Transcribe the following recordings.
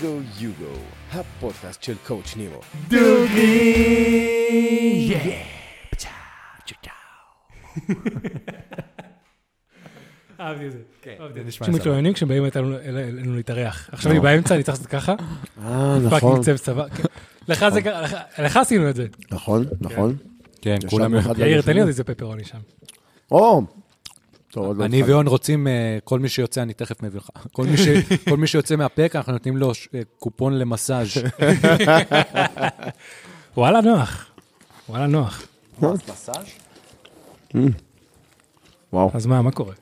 גו יוגו, הפודקאסט של קואוצ' נימו. דוגרי! אהבתי את זה. כן, אהבתי זה את זה. נשמע סבבה. כשמתלוננים כשהם באים אלינו- אלינו להתארח. עכשיו אני באמצע, אני צריך לעשות ככה. אה, פאקינג צב צבא. כן. לך זה קרה, לך- לך עשינו את זה. נכון, נכון. כן, כולם... ישבנו אחד ליד יאיר, תן לי השני. עוד איזה פפרוני שם. או! טוב, עוד לא אני התחלנו. ויון רוצים, אה, כל מי שיוצא, אני תכף מביא לך. כל מי ש- כל מי שיוצא מהפרק, אנחנו נותנים לו ש- אה, קופון למסאז'. וואלה, נוח. וואלה, נוח. מסאז'? וואו, כן. אז מה, מה קורה?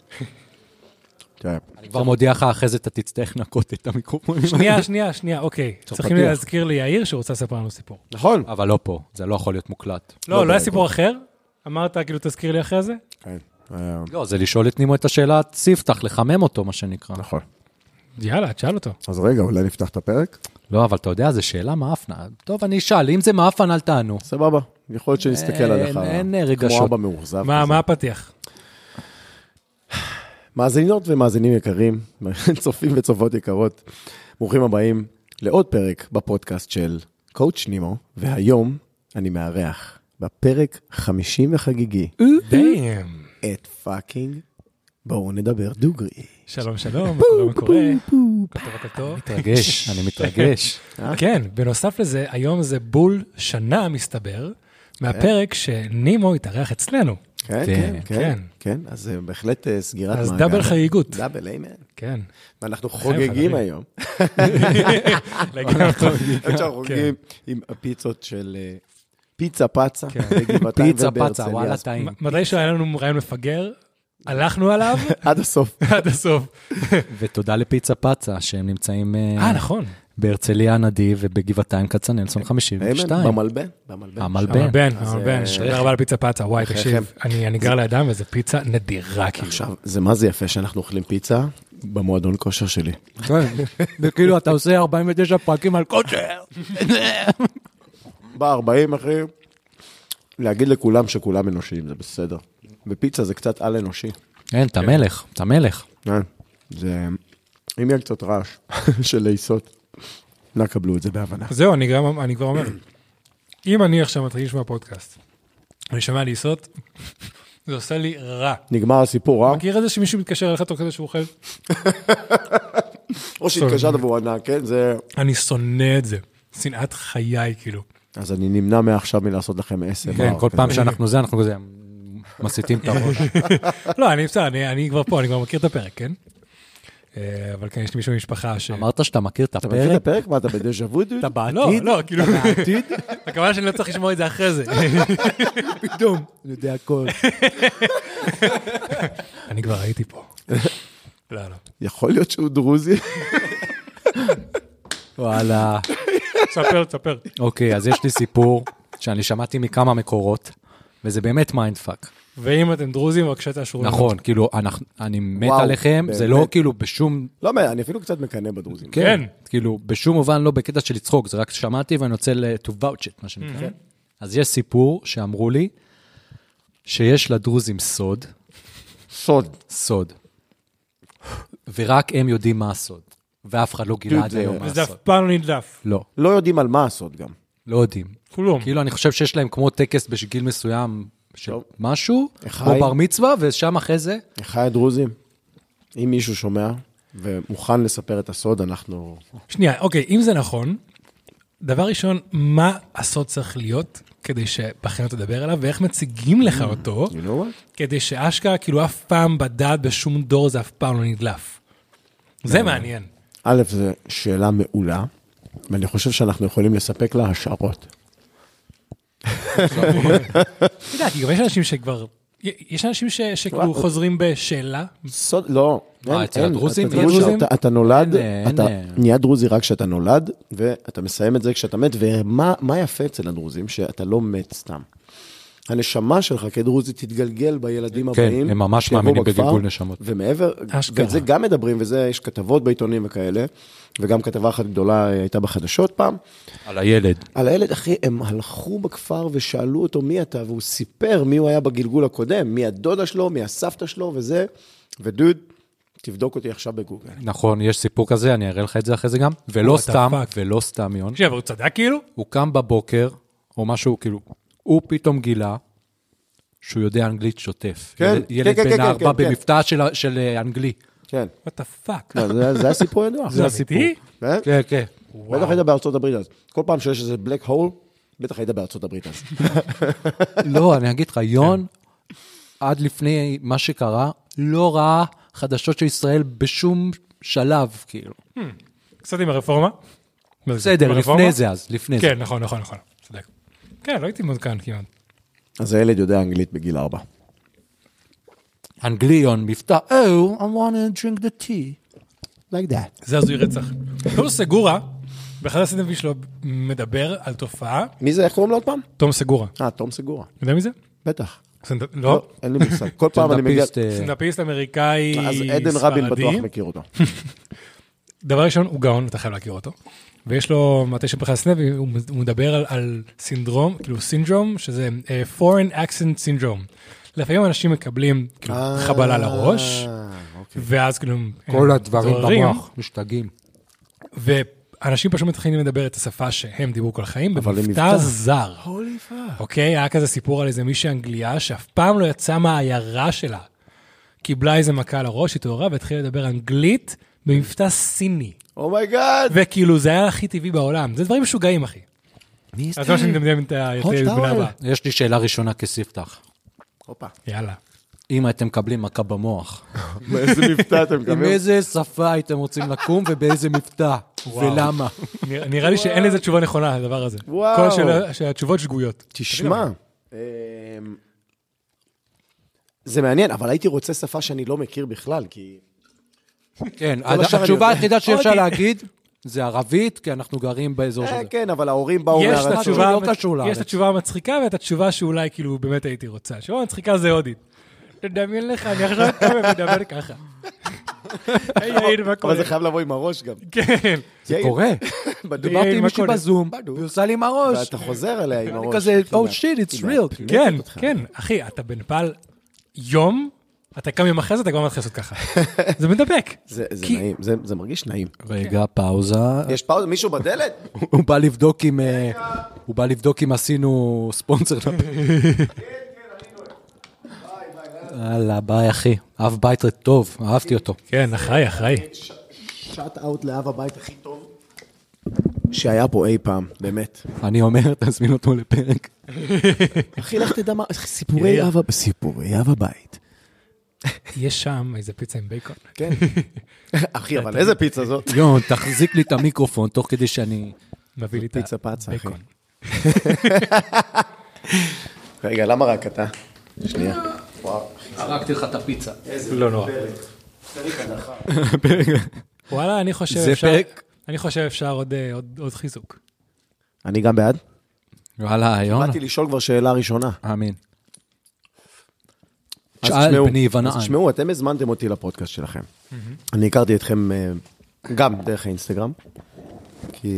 תראה. אני כבר מודיע לך, אחרי זה אתה תצטרך לנקות את המיקרופון. שנייה, שנייה, שנייה, אוקיי. צריכים פתוח. להזכיר ליאיר שהוא רוצה לספר לנו סיפור. נכון. אבל לא פה, זה לא יכול להיות מוקלט. לא, לא היה בעיה, סיפור אחר? אמרת, כאילו, תזכיר לי אחרי זה? כן, אה, לא, זה לשאול את נימו את השאלה ספתח, לחמם אותו, מה שנקרא. נכון. יאללה, תשאל אותו. אז רגע, אולי נפתח את הפרק? לא, אבל אתה יודע, זו שאלה מאפנה. טוב, אני אשאל, אם זה מאפן, אל תענו. סבבה. יכול להיות שנסתכל אין- עליך אין כמו רגשות. אבא מאוכזב. מה כזה. מה הפתיח? מאזינות ומאזינים יקרים, צופים וצופות יקרות, ברוכים הבאים לעוד פרק בפודקאסט של קואוצ' נימו, והיום אני מארח בפרק 50 וחגיגי דיים. את פאקינג בואו נדבר דוגרי. כן, שלום, שלום, מה קורה, מה קורה? הכל טוב, הכל טוב. מתרגש, אני מתרגש. אה? כן, בנוסף לזה, היום זה בול שנה, מסתבר, אה? מהפרק שנימו התארח אצלנו. כן, כן, כן, כן, כן. כן, אז זה בהחלט אה, סגירת אז מעגל. דאבל חגיגות. דאבל, איימן. כן. ואנחנו חוגגים חברים. היום. לגמרי. אנחנו חוגגים עם הפיצות של אה, פיצה פצה כן. בגבעתיים פיצה, פצה, ובהרצליה. וואלה, אז טעים. מ- מתישהו היה לנו רעיון מפגר, הלכנו עליו עד הסוף. עד הסוף. ותודה לפיצה פצה, שהם נמצאים אה, אה, נכון. בהרצליה הנדיב ובגבעתיים כצנלסון 52. איימן, במלבן, במלבן. המלבן. אבל בן, אז, אבל בן, אה, תודה רבה על פיצה פצה, וואי, אחרי תקשיב, אני אני גר לידם וזו פיצה נדירה, כאילו. עכשיו, זה מה זה יפה שאנחנו אוכלים פיצה במועדון כושר שלי. כן, וכאילו, אתה עושה 49 פרקים על כושר. ב-40, אחי, להגיד לכולם שכולם אנושיים, זה בסדר. ופיצה זה קצת על-אנושי. כן, אתה מלך, אתה מלך. אה, זה... אם יהיה קצת רעש של לעיסות, נא קבלו את זה בהבנה. זהו, אני גם- אני כבר אומר, אם אני עכשיו מתחיל לשמוע פודקאסט, אני שומע לעיסות, זה עושה לי רע. נגמר הסיפור, אוקיי. אה? מכיר את זה שמישהו מתקשר אליך תוך כדי שהוא אוכל? או שהתקשרת והוא ענה, כן? זה... אני שונא את זה. שנאת חיי, כאילו. אז אני נמנע מעכשיו מלעשות לכם עשר. כן, כל פעם שאנחנו זה, אנחנו כזה מסיטים את הראש. לא, אני בסדר, אני אני כבר פה, אני כבר מכיר את הפרק, כן? אה, אבל כן, יש לי מישהו במשפחה ש... אמרת שאתה מכיר את אתה מכיר את הפרק? הפרק? מה, אתה בדז'ה וו, דוד? אתה בעתיד? לא, לא, כאילו, בעתיד? הכוונה שאני לא צריך לשמוע את זה אחרי זה. פתאום. אני יודע הכל. אני כבר הייתי פה. לא, לא. יכול להיות שהוא דרוזי? וואלה. תספר, תספר. אוקיי, אז יש לי סיפור שאני שמעתי מכמה מקורות, וזה באמת אוקיי. מיינדפאק. ואם אתם דרוזים, בבקשה תאשרו. לנו. נכון, כאילו, אנחנו- אני מת וואו, עליכם, זה באמת. לא כאילו בשום... לא, מה, אני אפילו קצת מקנא בדרוזים. כן. כאילו, בשום מובן לא בקטע של לצחוק, זה רק שמעתי ואני רוצה ל- to vouch it, מה שנקרא. כן. אז יש סיפור שאמרו לי שיש לדרוזים סוד, סוד. סוד, ורק הם יודעים מה הסוד, ואף אחד לא גילה דוד, עד זה- היום מה וזה הסוד. אף פעם לא נדלף. לא, לא יודעים על מה הסוד גם. לא יודעים. כלום. כאילו, אני חושב שיש להם כמו טקס בגיל מסוים של טוב. משהו, אחד. כמו בר מצווה, ושם אחרי זה, אחיי הדרוזים, אם מישהו שומע ומוכן לספר את הסוד, אנחנו... שנייה, אוקיי, אם זה נכון, דבר ראשון, מה הסוד צריך להיות כדי שבחיים תדבר עליו, ואיך מציגים לך אותו, Mm. You know what? כדי שאשכרה, כאילו אף פעם בדעת בשום דור זה אף פעם לא נדלף. זה מעניין. א', זו שאלה מעולה, ואני חושב שאנחנו יכולים לספק לה השערות. אתה יודע, כי גם יש אנשים שכבר... יש אנשים ש- שכאילו וואו. חוזרים בשאלה. סוד, לא. מה, אין- אה, אצל אין. הדרוזים? אתה אין דרוזי, דרוזים? אתה- אתה נולד, אין, אין, אתה אין. נהיה דרוזי רק כשאתה נולד, ואתה מסיים את זה כשאתה מת, ומה מה יפה אצל הדרוזים? שאתה לא מת סתם. הנשמה שלך כדרוזי תתגלגל בילדים כן, הבאים. הם ממש שיבואו מאמינים בכפר, בגלגול נשמות. ומעבר, אשכרה. ואת זה גם מדברים, וזה, יש כתבות בעיתונים וכאלה, וגם כתבה אחת גדולה אה, הייתה בחדשות פעם, על הילד. על הילד, אחי, הם הלכו בכפר ושאלו אותו מי אתה, והוא סיפר מי הוא היה בגלגול הקודם, מי הדודה שלו, מי הסבתא שלו וזה, ודוד, תבדוק אותי עכשיו בגוגל. נכון, יש סיפור כזה, אני אראה לך את זה אחרי זה גם. ולא What the סתם, fuck? ולא סתם, יון. תקשיב, אבל הוא צדק כאילו? הוא קם בבוקר, או משהו, כאילו, הוא פתאום גילה שהוא יודע אנגלית שוטף. כן, ילד- כן, ילד כן, בן כן, ארבע כן, כן. במבטא של ה- של אה, אנגלי. כן. What the fuck? לא, זה- זה הסיפור הידוע. זה אמיתי? אה? כן, כן. בטח היית בארצות הברית אז. כל פעם שיש איזה black hole, בטח היית בארצות הברית אז. לא, אני אגיד לך, יון, עד לפני מה שקרה, לא ראה חדשות של ישראל בשום שלב, כאילו. קצת עם הרפורמה. עם בסדר, הרפורמה? לפני זה אז, לפני זה. כן, נכון, נכון, נכון. צודק. כן, לא הייתי מעודכן כמעט. אז הילד יודע אנגלית בגיל ארבע. אנגלי, יון, מבטא, Oh, I want to drink the tea. Like that. זה הזוי רצח. תום סגורה, באחד הסטנדאפים שלו מדבר על תופעה, מי זה, איך קוראים לו עוד פעם? תום סגורה. אה, תום סגורה. אתה יודע מי זה? בטח. סטנדאפ- לא, לא? אין לי מושג. כל פעם אני מגיע... סטנדאפיסט, אה, סטנדאפיסט אמריקאי ספרדי. אז עדן רבין בטוח מכיר אותו. דבר ראשון, הוא גאון, אתה חייב להכיר אותו. ויש לו מטה של פרחי הסנב, הוא הוא מדבר על, על סינדרום, כאילו סינדרום, שזה אה, foreign accent syndrome. לפעמים אנשים מקבלים כאילו, חבלה לראש, אה, אוקיי. ואז כאילו... הם אה, כל הדברים זוהרים, במוח, משתגעים. ואנשים פשוט מתחילים לדבר את השפה שהם דיברו כל החיים, אבל עם במבטא מבטא. זר. הולי פאק. אוקיי? היה כזה סיפור על איזה מישהי אנגליה שאף פעם לא יצאה מהעיירה שלה. קיבלה איזה מכה לראש, התעוררה והתחילה לדבר אנגלית במבטא סיני. Oh אומייגאד. וכאילו זה היה הכי טבעי בעולם, זה דברים משוגעים אחי. מי אז לא שאני מדמיין את ה- את Hot הבן towel. הבא. יש לי שאלה ראשונה כספתח. הופה. יאללה. אם הייתם מקבלים מכה במוח, איזה מבטא אתם עם מקבלים? איזה שפה הייתם רוצים לקום ובאיזה מבטא, ולמה? נרא- נראה לי שאין לזה תשובה נכונה לדבר הזה. וואו. כל השאלה- שהתשובות שגויות. תשמע, אמ, זה מעניין, אבל הייתי רוצה שפה שאני לא מכיר בכלל, כי... כן, השאר אני התשובה יודע. היחידה שאפשר אוקיי. להגיד זה ערבית, כי אנחנו גרים באזור אה, של זה. כן, אבל ההורים באו יש את מהרצון. התשובה לא המצ- קשור יש לארץ. את התשובה המצחיקה ואת התשובה שאולי כאילו באמת הייתי רוצה. התשובה המצחיקה זה הודית. תדמיין לך, אני עכשיו מדבר ככה. היי יאיר, מה קורה? אבל זה חייב לבוא עם הראש גם. כן. זה יאיר, קורה. בדיוק. דיברתי עם מישהי מכולת. בזום, והיא עושה לי עם הראש. ואתה חוזר אליה עם אני הראש. כזה, כאילו, "Oh shit, it's כאילו, real." פינקת כן, אותך. כן, אחי, אתה בנפאל יום, אתה קם יום אחרי זה, אתה כבר מתחיל לעשות ככה. זה מדבק. זה זה כי- נעים, זה זה מרגיש נעים. רגע, פאוזה. יש פאוזה, מישהו בדלת? הוא בא לבדוק אם... אה, הוא בא לבדוק אם עשינו ספונסר כן, לפרק. יאללה, ביי, אחי. אב בית טוב, אהבתי אותו. כן, אחראי, אחראי. שאט אאוט לאב הבית הכי טוב. שהיה פה אי פעם, באמת. אני אומר, תזמין אותו לפרק. אחי, לך תדע מה, סיפורי אב הבית. סיפורי אב הבית. יש שם איזה פיצה עם בייקון. כן. אחי, אבל איזה פיצה זאת? יון, תחזיק לי את המיקרופון תוך כדי שאני... מביא לי את פיצה פצה, אחי. הבייקון. רגע, למה רק אתה? שנייה. וואו, הרגתי לך את הפיצה. לא נורא. וואלה, אני חושב זה אפשר... פרק. אני חושב אפשר עוד, אה, עוד, עוד חיזוק. אני גם בעד. וואלה, יון. באתי לשאול כבר שאלה ראשונה. אמין. אז שאל תשמעו- בני ונען. אז תשמעו, אתם הזמנתם אותי לפודקאסט שלכם. אני הכרתי אתכם אה, גם דרך האינסטגרם, כי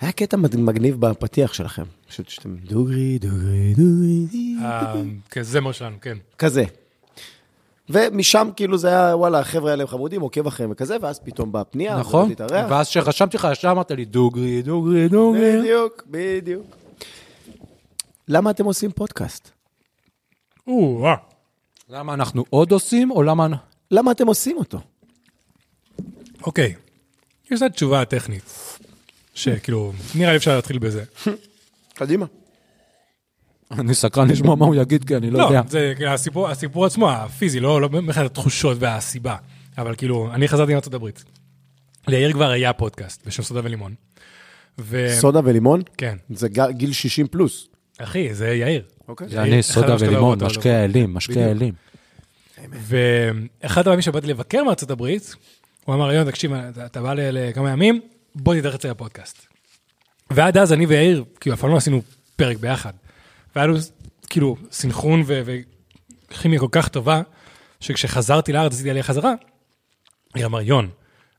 היה קטע מד- מגניב בפתיח שלכם. פשוט שאתם דוגרי, דוגרי, דוגרי, די. אה, כזמר שלנו, כן. כזה. ומשם כאילו זה היה, וואלה, החבר'ה האלה הם חמודים, עוקב אחריהם וכזה, ואז פתאום באה פנייה, נכון? ורציתי להתארח. ואז כשרשמתי לך, ישר אמרת לי, דוגרי, דוגרי, דוגרי. בדיוק, בדיוק. למה אתם עושים פודקאסט? או, אה. למה אנחנו עוד עושים, או למה... למה אתם עושים אותו? אוקיי. יש את התשובה הטכנית, שכאילו, נראה לי אפשר להתחיל בזה. קדימה. אני סקרן לשמוע מה הוא יגיד, כי אני לא לא, יודע. זה כאילו, הסיפור, הסיפור עצמו, הפיזי, לא, לא מבחינת התחושות והסיבה. אבל כאילו, אני חזרתי מארצות הברית. ליאיר כבר היה פודקאסט בשם סודה ולימון. ו... סודה ולימון? כן. זה ג- גיל 60 פלוס. אחי, זה יאיר. אוקיי. זה אני, סודה חשבתי שאתה לא ולימון, אותו, לא. משקה האלים, משקה האלים. ואחת הפעמים שבאתי לבקר מארצות הברית, הוא אמר, יון, תקשיב, אתה- אתה בא ל- לכמה ימים, בוא תדרך אצלי לפודקאסט. ועד אז אני ויאיר, כאילו, אף פעם לא עשינו פרק ביחד. והיה לנו, כאילו, סינכרון ו- וכימיה כל כך טובה, שכשחזרתי לארץ, עשיתי עלייה חזרה, היא אמר, יון,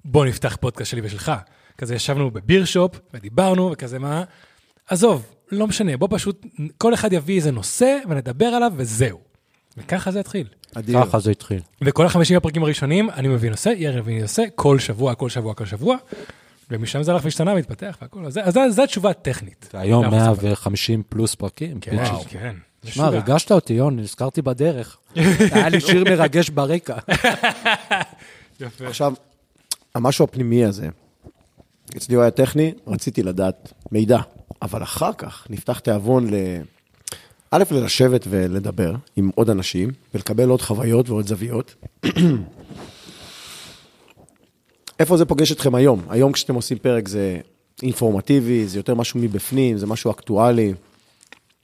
בוא נפתח פודקאסט שלי ושלך. כזה ישבנו בביר שופ, ודיברנו, וכזה מה... עזוב, לא משנה, בוא פשוט, כל אחד יביא איזה נושא, ונדבר עליו, וזהו. וככה זה התחיל. אדיר. ככה זה התחיל. וכל החמישים הפרקים הראשונים, אני מבין עושה, יאיר לוין עושה, כל שבוע, כל שבוע, כל שבוע, ומשם זה הלך והשתנה והתפתח והכל. אז זה- אז זו התשובה הטכנית. היום אנחנו 150 פלוס פרקים. כן, פיצ'ס. אוקיי. כן. זה שמע, שוגע. ריגשת אותי, יון, נזכרתי בדרך. היה לי שיר מרגש ברקע. יפה. עכשיו, המשהו הפנימי הזה, אצלי הוא היה טכני, רציתי לדעת מידע, אבל אחר כך נפתח תיאבון ל... א', ללשבת ולדבר עם עוד אנשים, ולקבל עוד חוויות ועוד זוויות. איפה זה פוגש אתכם היום? היום כשאתם עושים פרק זה אינפורמטיבי, זה יותר משהו מבפנים, זה משהו אקטואלי.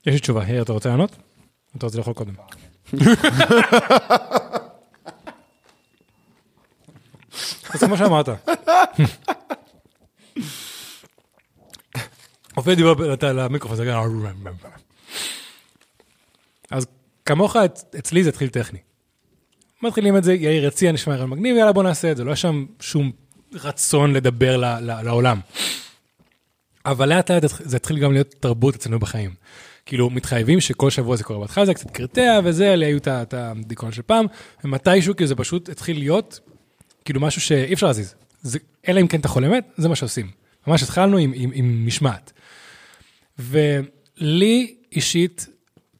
יש לי תשובה, יאיר, אתה רוצה לענות? אתה רוצה לאכול קודם. אז כמו שאמרת. אופיר דיבר ב- לת- למיקרופון, זה גם... אז כמוך, אצ- אצלי זה התחיל טכני. מתחילים את זה, יאיר הציע, נשמע רעיון מגניב, יאללה בוא נעשה את זה, לא היה שם שום רצון לדבר ל- ל- לעולם. אבל לאט לאט זה התחיל גם להיות תרבות אצלנו בחיים. כאילו, מתחייבים שכל שבוע זה קורה. בהתחלה זה היה קצת קרטע וזה, אלה היו את ה- את הדיכאון של פעם, ומתישהו, כאילו, זה פשוט התחיל להיות, כאילו, משהו שאי אפשר להזיז. זה, אלא אם כן אתה חולה מת, זה מה שעושים. ממש התחלנו עם, עם, עם משמעת. ולי אישית,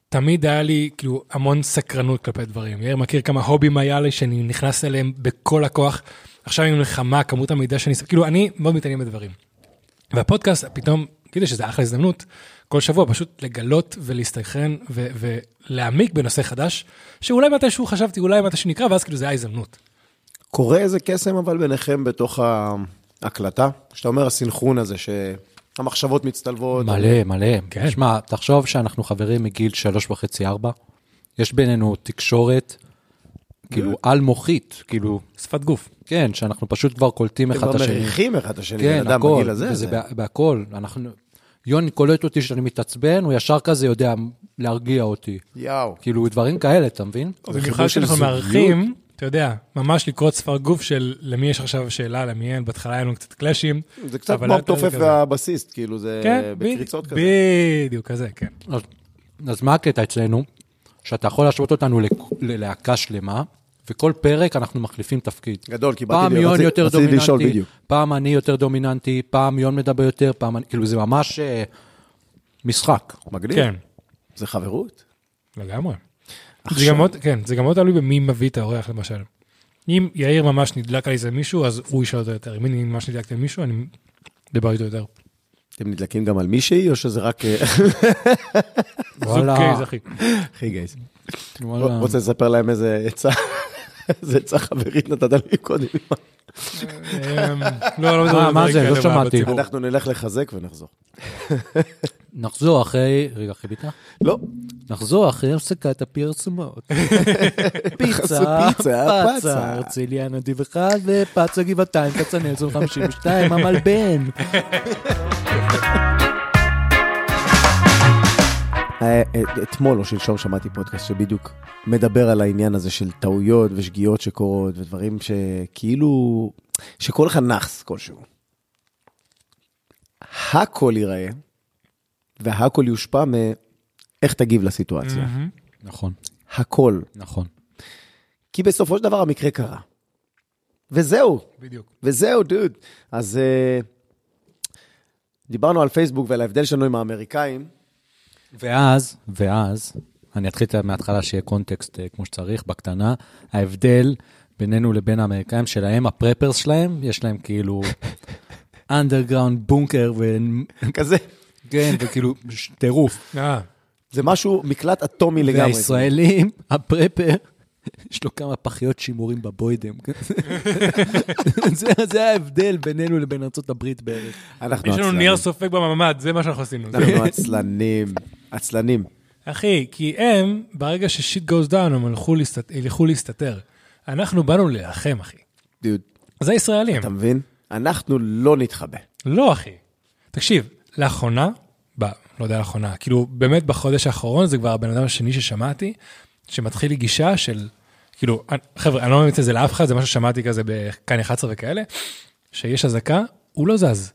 תמיד היה לי, כאילו, המון סקרנות כלפי דברים. יאיר מכיר כמה הובים היה לי שאני נכנס אליהם בכל הכוח. עכשיו עם מלחמה, כמות המידע שאני... כאילו, אני מאוד מתעניין בדברים. והפודקאסט פתאום, כאילו שזה אחלה הזדמנות, כל שבוע פשוט לגלות ולהסתכן ו- ולהעמיק בנושא חדש, שאולי מתישהו חשבתי, אולי מתישהו נקרא, ואז כאילו זה היה הזדמנות. קורה איזה קסם אבל ביניכם בתוך ההקלטה? כשאתה אומר הסינכרון הזה, שהמחשבות מצטלבות. מלא, מלא. כן. שמע, תחשוב שאנחנו חברים מגיל שלוש וחצי, ארבע. יש בינינו תקשורת, כאילו, אה? על-מוחית, כאילו, שפת גוף. כן, שאנחנו פשוט כבר קולטים אתם אחד את כבר השני. מריחים אחד את השני, כן, בן אדם הכל, בגיל הזה. וזה זה- בה- בהכל. אנחנו... יוני קולט אותי שאני מתעצבן, הוא ישר כזה יודע להרגיע אותי. יאו. כאילו, דברים כאלה, אתה מבין? במיוחד של שאנחנו זוגיות. מארחים, אתה יודע, ממש לקרוא שפת גוף של למי יש עכשיו שאלה, למי אין, בהתחלה היה לנו קצת קלאשים. זה קצת אבל כמו לאט לאט זה התופף כזה. והבסיסט, כאילו זה כן, בקריצות בדיוק, כזה. בדיוק, כזה, כן. אז, אז מה הקטע אצלנו? שאתה יכול להשוות אותנו לק- ללהקה שלמה, וכל פרק אנחנו מחליפים תפקיד. גדול, כי באתי פעם לי- יון רציתי- יותר רציתי דומיננטי, לשאול בדיוק. פעם אני יותר דומיננטי, פעם יון מדבר יותר, פעם אני... כאילו, זה ממש אה, משחק. מגניב. כן, זה חברות. לגמרי. זה גם מאוד, כן, זה גם מאוד תלוי במי מביא את האורח, למשל. אם יאיר ממש נדלק על איזה מישהו, אז הוא ישאל אותו יותר. אם אני ממש נדלקתי על מישהו, אני מדבר איתו יותר. אתם נדלקים גם על מישהי, או שזה רק... אה, זוג קייז, אחי. אחי גייס. וואלה. רוצה לספר להם איזה עצה, איזה עצה חברית נתת לי קודם. אמ, לא, לא מדברים מה, על מה דברים זה? לא כאלה שמעתי. בציבור. אנחנו נלך לחזק ונחזור. נחזור אחרי... רגע, חיבית? לא, נחזור אחרי הפסקת הפרסומות. בחסות פיצה, פיצה, פצה. פצה, הרצליה נדיב אחד ופצה גבעתיים, פצה נלסון 52, המלבן. אה, אה, אתמול או שלשום שמעתי פודקאסט שבדיוק מדבר על העניין הזה של טעויות ושגיאות שקורות ודברים שכאילו, שכל אחד נאחס כלשהו. הכל ייראה והכל יושפע מאיך תגיב לסיטואציה. נכון, הכל. נכון. כי בסופו של דבר המקרה קרה. וזהו, בדיוק. וזהו, דוד. אז אה, דיברנו על פייסבוק ועל ההבדל שלנו עם האמריקאים. ואז, ואז, אני אתחיל את ה- מההתחלה שיהיה קונטקסט אה, כמו שצריך, בקטנה, ההבדל בינינו לבין האמריקאים שלהם, הפרפרס שלהם, יש להם כאילו אנדרגראונד בונקר, ו... כזה, כן, וכאילו ש- טירוף. אה, זה משהו, מקלט אטומי לגמרי. והישראלים, הפרפר, יש לו כמה פחיות שימורים בבוידם. זה, זה ההבדל בינינו לבין ארה"ב בערך. אנחנו יש לנו עצלנים. ניר סופג בממ"ד, זה מה שאנחנו עשינו. אנחנו נכון. עצלנים, עצלנים. אחי, כי הם, ברגע ששיט גוז דאון, הם הלכו להסת- ילכו להסתתר. אנחנו באנו להילחם, אחי. דוד, זה הישראלים. אתה מבין? אנחנו לא נתחבא. לא, אחי. תקשיב, לאחרונה, ב, לא יודע לאחרונה, כאילו באמת בחודש האחרון זה כבר הבן אדם השני ששמעתי, שמתחיל לי גישה של, כאילו, אני- חבר'ה, אני לא ממליץ את זה לאף אחד, זה מה ששמעתי כזה בכאן 11 וכאלה, שיש אזעקה, הוא לא זז.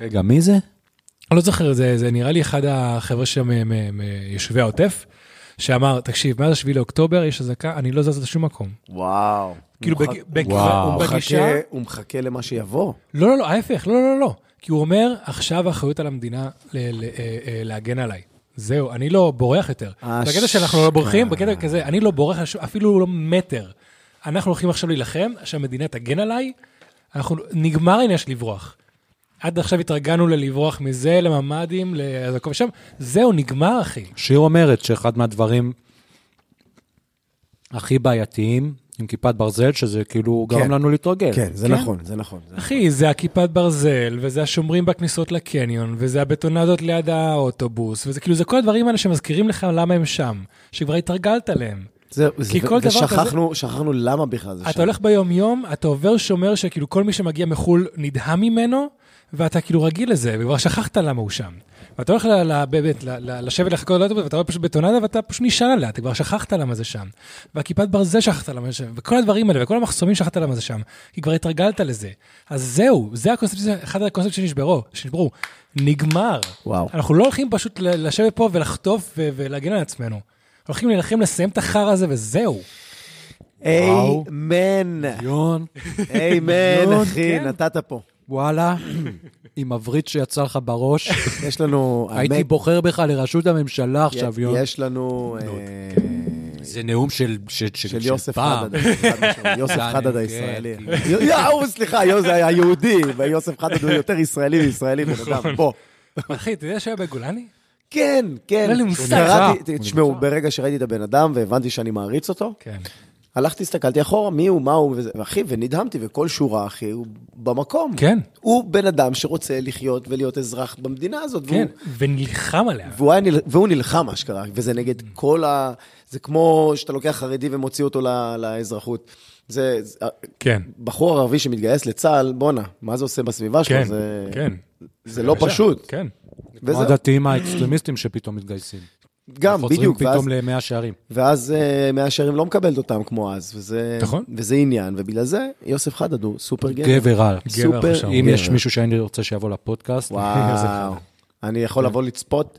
רגע, מי זה? אני לא זוכר, זה, זה נראה לי אחד החבר'ה שם מ- מ- מיישובי העוטף, שאמר, תקשיב, מאז 7 לאוקטובר יש אזעקה, אני לא זז לשום מקום. וואו. כאילו, הוא בג- מחכה- בג- וואו. הוא הוא מחכה- בגישה- הוא מחכה למה שיבוא. לא, לא, לא, ההפך, לא, לא, לא, לא. כי הוא אומר, עכשיו האחריות על המדינה ל- ל- אה, אה, להגן עליי. זהו, אני לא בורח יותר. בקטע שאנחנו לא בורחים, בקטע כזה, אני לא בורח לש- אפילו לא מטר. אנחנו הולכים עכשיו להילחם, שהמדינה תגן עליי, אנחנו, נגמר העניין של לברוח. עד עכשיו התרגלנו ללברוח מזה, לממ"דים, לכל ושם, זהו, נגמר, אחי. שיר אומרת שאחד מהדברים הכי בעייתיים עם כיפת ברזל, שזה כאילו גרם כן. לנו להתרגל. כן, זה כן. נכון, זה נכון. זה- אחי, זה הכיפת ברזל, וזה השומרים בכניסות לקניון, וזה הבטונדות ליד האוטובוס, וזה כאילו, זה כל הדברים האלה שמזכירים לך למה הם שם, שכבר התרגלת אליהם. זה- זה- כל דבר ושכחנו שכחנו למה בכלל זה אתה לא- שם. הולך ביום-יום, אתה עובר שומר שכאילו כל מי שמגיע מחו"ל נדהם ממנו, ואתה כאילו רגיל לזה, וכבר שכחת למה הוא שם. ואתה הולך ל- ל- באמת ל- ל- לשבת לחכות לאוטובוס, ואתה רואה פשוט בטונדה, ואתה פשוט נשען עליה, אתה כבר שכחת למה זה שם. והכיפת ברזל שכחת למה זה שם, וכל הדברים האלה, וכל המחסומים שכחת למה זה שם, כי כבר התרגלת לזה. אז זהו, זה הקונספציה, אחד הקונספציה שנשברו, שנשברו. נגמר. וואו. אנחנו לא הולכים פשוט ל- לשבת פה ולחטוף ו- ולהגן על עצמנו. הולכים להילחם לסיים את החרא הזה, וזהו. איימן, כן? יון, איימן, אחי, כן. נתת פה. וואלה, עם הברית שיצא לך בראש, יש לנו... הייתי האמת, בוחר בך לראשות הממשלה י- עכשיו, יון. יש לנו... אה, כן. זה נאום של של- של של יוסף פעם. חדד, חד משמעית, יוסף כן, חדד כן, הישראלי. כן. יו- יאו, סליחה, יו, זה היה יהודי, ויוסף חדד הוא יותר ישראלי מישראלי, בן נכון. אדם, בוא. אחי, אתה יודע שהיה בגולני? כן, כן. אין לי מושג. קראתי, תשמעו, ברגע שראיתי את הבן אדם והבנתי שאני מעריץ אותו, כן. הלכתי, הסתכלתי אחורה, מי הוא, מה הוא, וזה- ואחי, ונדהמתי, וכל שורה, אחי, הוא במקום. כן. הוא בן אדם שרוצה לחיות ולהיות אזרח במדינה הזאת, והוא כן, ונלחם עליה. והוא, היה, נל- והוא נלחם, אשכרה, וזה נגד Mm. כל ה... זה כמו שאתה לוקח חרדי ומוציא אותו ל- לאזרחות. זה... זה- כן. בחור ערבי שמתגייס לצה"ל, בואנה, מה זה עושה בסביבה שלו? כן, זה, כן. זה לא פשוט. כן. כמו וזה הדתיים האקסטרימיסטים שפתאום מתגייסים. גם, בדיוק. חוזרים ואז, פתאום למאה שערים. ואז אה, מאה שערים לא מקבלת אותם כמו אז, וזה, נכון. וזה עניין, ובגלל זה יוסף חדד הוא סופר גבר. גבר על. גבר עכשיו. כן. סופר אם יש גבר. מישהו שאני רוצה שיבוא לפודקאסט, וואו, אני כן. יכול לבוא לצפות?